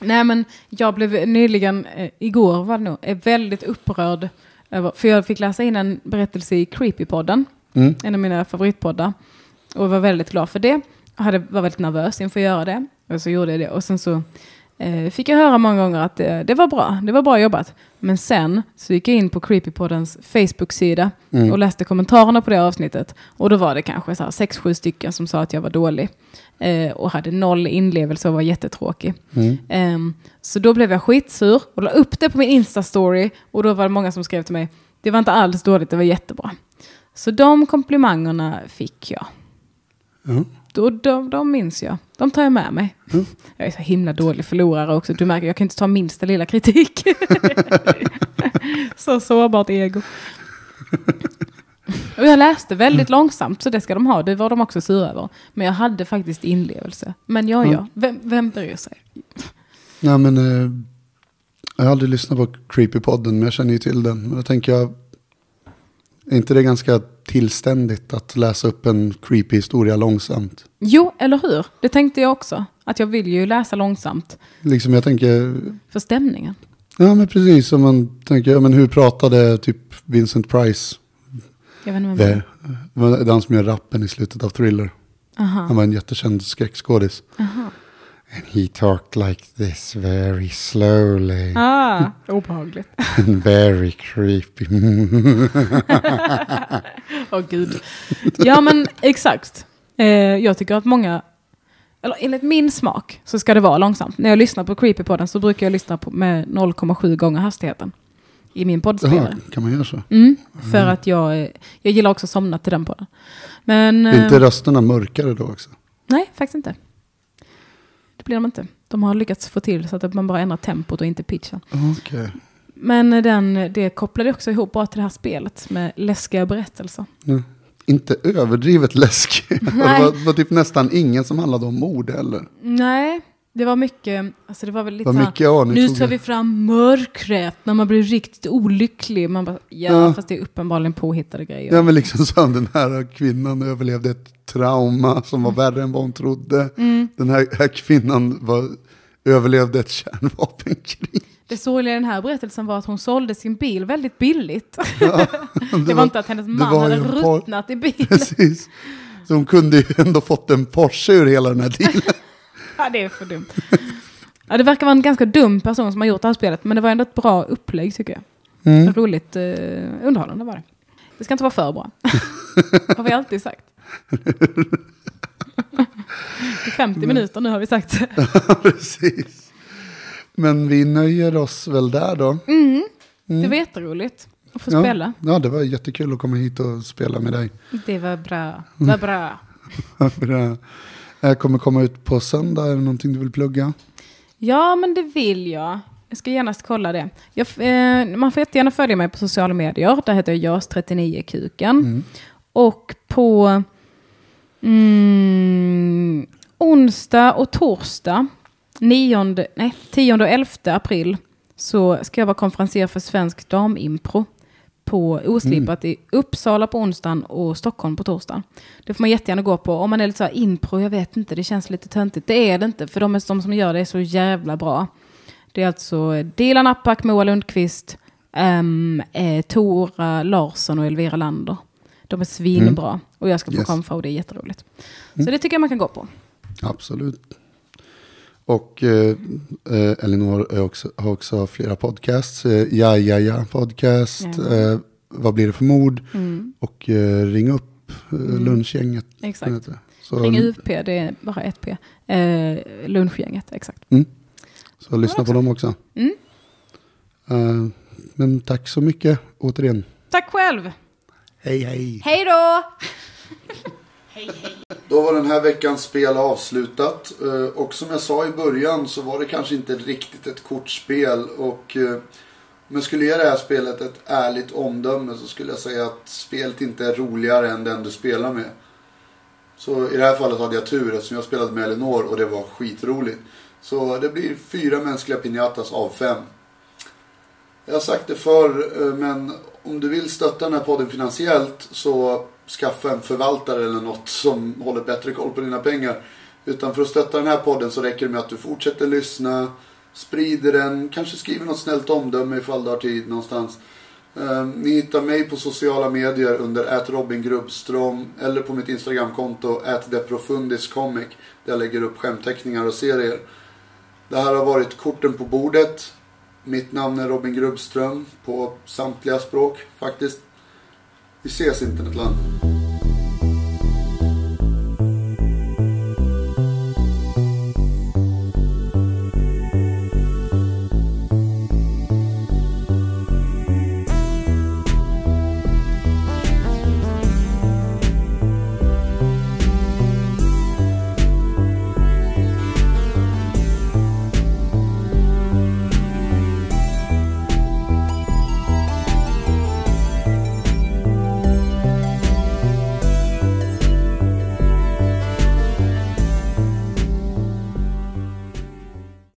Nej men jag blev nyligen, eh, igår var det nog, eh, väldigt upprörd. Över, för jag fick läsa in en berättelse i Creepypodden. Mm. En av mina favoritpoddar. Och var väldigt glad för det. Jag hade, var väldigt nervös inför att göra det. Och så gjorde jag det. Och sen så eh, fick jag höra många gånger att eh, det var bra. Det var bra jobbat. Men sen så gick jag in på Creepypoddens Facebook-sida och läste kommentarerna på det avsnittet. Och då var det kanske så här sex, sju stycken som sa att jag var dålig. Eh, och hade noll inlevelse och var jättetråkig. mm. Ehm, så då blev jag skitsur och la upp det på min Insta-story. Och då var det många som skrev till mig, det var inte alls dåligt, det var jättebra. Så de komplimangerna fick jag. Ja. Då, de, de minns jag. De tar jag med mig. Mm. Jag är så himla dålig förlorare också. Du märker, jag kan inte ta minsta lilla kritik. så sårbart ego. Och jag läste väldigt långsamt, så det ska de ha. Det var de också sura över. Men jag hade faktiskt inlevelse. Men ja, ja. Vem, vem bryr sig? Nej, men, eh, jag har aldrig lyssnat på Creepypodden, men jag känner ju till den. Men då tänker jag, är inte det ganska tillständigt att läsa upp en creepy historia långsamt? Jo, eller hur? Det tänkte jag också. Att jag vill ju läsa långsamt. Liksom jag tänker, För stämningen. ja men precis som man tänker, ja men hur pratade typ Vincent Price? Eh, Jag vet inte vem. Det var den som gör rappen i slutet av Thriller. Aha. Han var en jättekänd skräckskådis. And he talked like this very slowly. Ah, obehagligt. And very creepy. Åh gud. Ja men exakt. Eh, jag tycker att många, eller enligt min smak så ska det vara långsamt. När jag lyssnar på Creepypodden så brukar jag lyssna på, med 0,7 gånger hastigheten. I min Jaha, poddspelare. kan man göra så? Mm, för att jag, eh, jag gillar också att somna till den podden. Men, Är eh, inte rösterna mörkare då också? nej faktiskt inte. Det blir de inte. De har lyckats få till så att man bara ändrar tempot och inte pitchen. Okej. Men den, det kopplade också ihop bara till det här spelet med läskiga berättelser. Ja. Inte överdrivet läskig. det var, det var typ nästan ingen som handlade om mord heller. Nej, det var mycket, alltså det var väl lite Vad så här, mycket ja, nu Nu tog tar jag. vi fram mörkret när man blir riktigt olycklig. Man bara, ja, Ja. fast det är uppenbarligen påhittade grejer. Ja men liksom som den här kvinnan överlevde ett trauma som var värre än vad hon trodde. Mm. Den här, här kvinnan var, överlevde ett kärnvapenkrig. Det sorgliga i den här berättelsen var att hon sålde sin bil väldigt billigt. det var inte att hennes man var hade ju en par- ruttnat i bilen. Precis. Så hon kunde ju ändå fått en Porsche ur hela den här dealen. ja, det är för dumt. Ja, det verkar vara en ganska dum person som har gjort det här spelet, men det var ändå ett bra upplägg tycker jag. Mm. Roligt, eh, underhållande var det. Det ska inte vara för bra. har vi alltid sagt. I 50 minuter nu har vi sagt Precis. Men vi nöjer oss väl där då. Mm. Mm. Det var jätteroligt att få ja. spela. Ja, det var jättekul att komma hit och spela med dig. Det var Mm. bra. Det var bra. Bra. Jag kommer komma ut på söndag, är det någonting du vill plugga? Ja, men det vill jag. Jag ska genast kolla det. Jag, f- eh, man får jättegärna följa mig på sociala medier. Där heter jag JAS39kuken. Och på mm, onsdag och torsdag, 9, nej, 10 och 11 april, så ska jag vara konferencier för Svensk Damimpro på Oslipat i Uppsala på onsdagen och Stockholm på torsdagen. Det får man jättegärna gå på. Om man är lite så här impro, jag vet inte, det känns lite töntigt. Det är det inte, för de, är, de som gör det är så jävla bra. Det är alltså Dilan Apak, Moa Lundqvist, ehm, eh, Tora Larsson och Elvira Lander. De är svinbra. Och jag ska få Yes. konfa och det är jätteroligt. Så det tycker jag man kan gå på. Absolut. Och eh, eh, Elinor är också, har också flera podcasts. Eh, ja, ja, ja podcast. Ja. Eh, vad blir det för mord? Och eh, ring upp eh, lunchgänget. Mm, Exakt. heter det. Så, Ring UP, det är bara ett P. Eh, lunchgänget, exakt. Mm. Så lyssna på dem också. Mm. Eh, men tack så mycket återigen. Tack själv! Hej hej. Hej då! Då var den här veckans spel avslutat. Eh, Och som jag sa i början så var det kanske inte riktigt ett kortspel. Och, eh, om jag skulle ge det här spelet ett ärligt omdöme så skulle jag säga att spelet inte är roligare än den du spelar med. Så i det här fallet hade jag tur eftersom jag spelade med Elinor och det var skitroligt. Så det blir fyra mänskliga piñatas av fem. Jag har sagt det förr, eh, men om du vill stötta den här podden finansiellt så skaffa en förvaltare eller något som håller bättre koll på dina pengar. Utan för att stötta den här podden så räcker det med att du fortsätter lyssna, sprider den, kanske skriver något snällt omdöme ifall du har tid någonstans. Eh, Ni hittar mig på sociala medier under @robingrubbstrom eller på mitt Instagramkonto @deprofundiscomic där jag lägger upp skämtteckningar och serier. Det här har varit Korten på bordet. Mitt namn är Robin Grubbström på samtliga språk faktiskt. Vi ses internetland.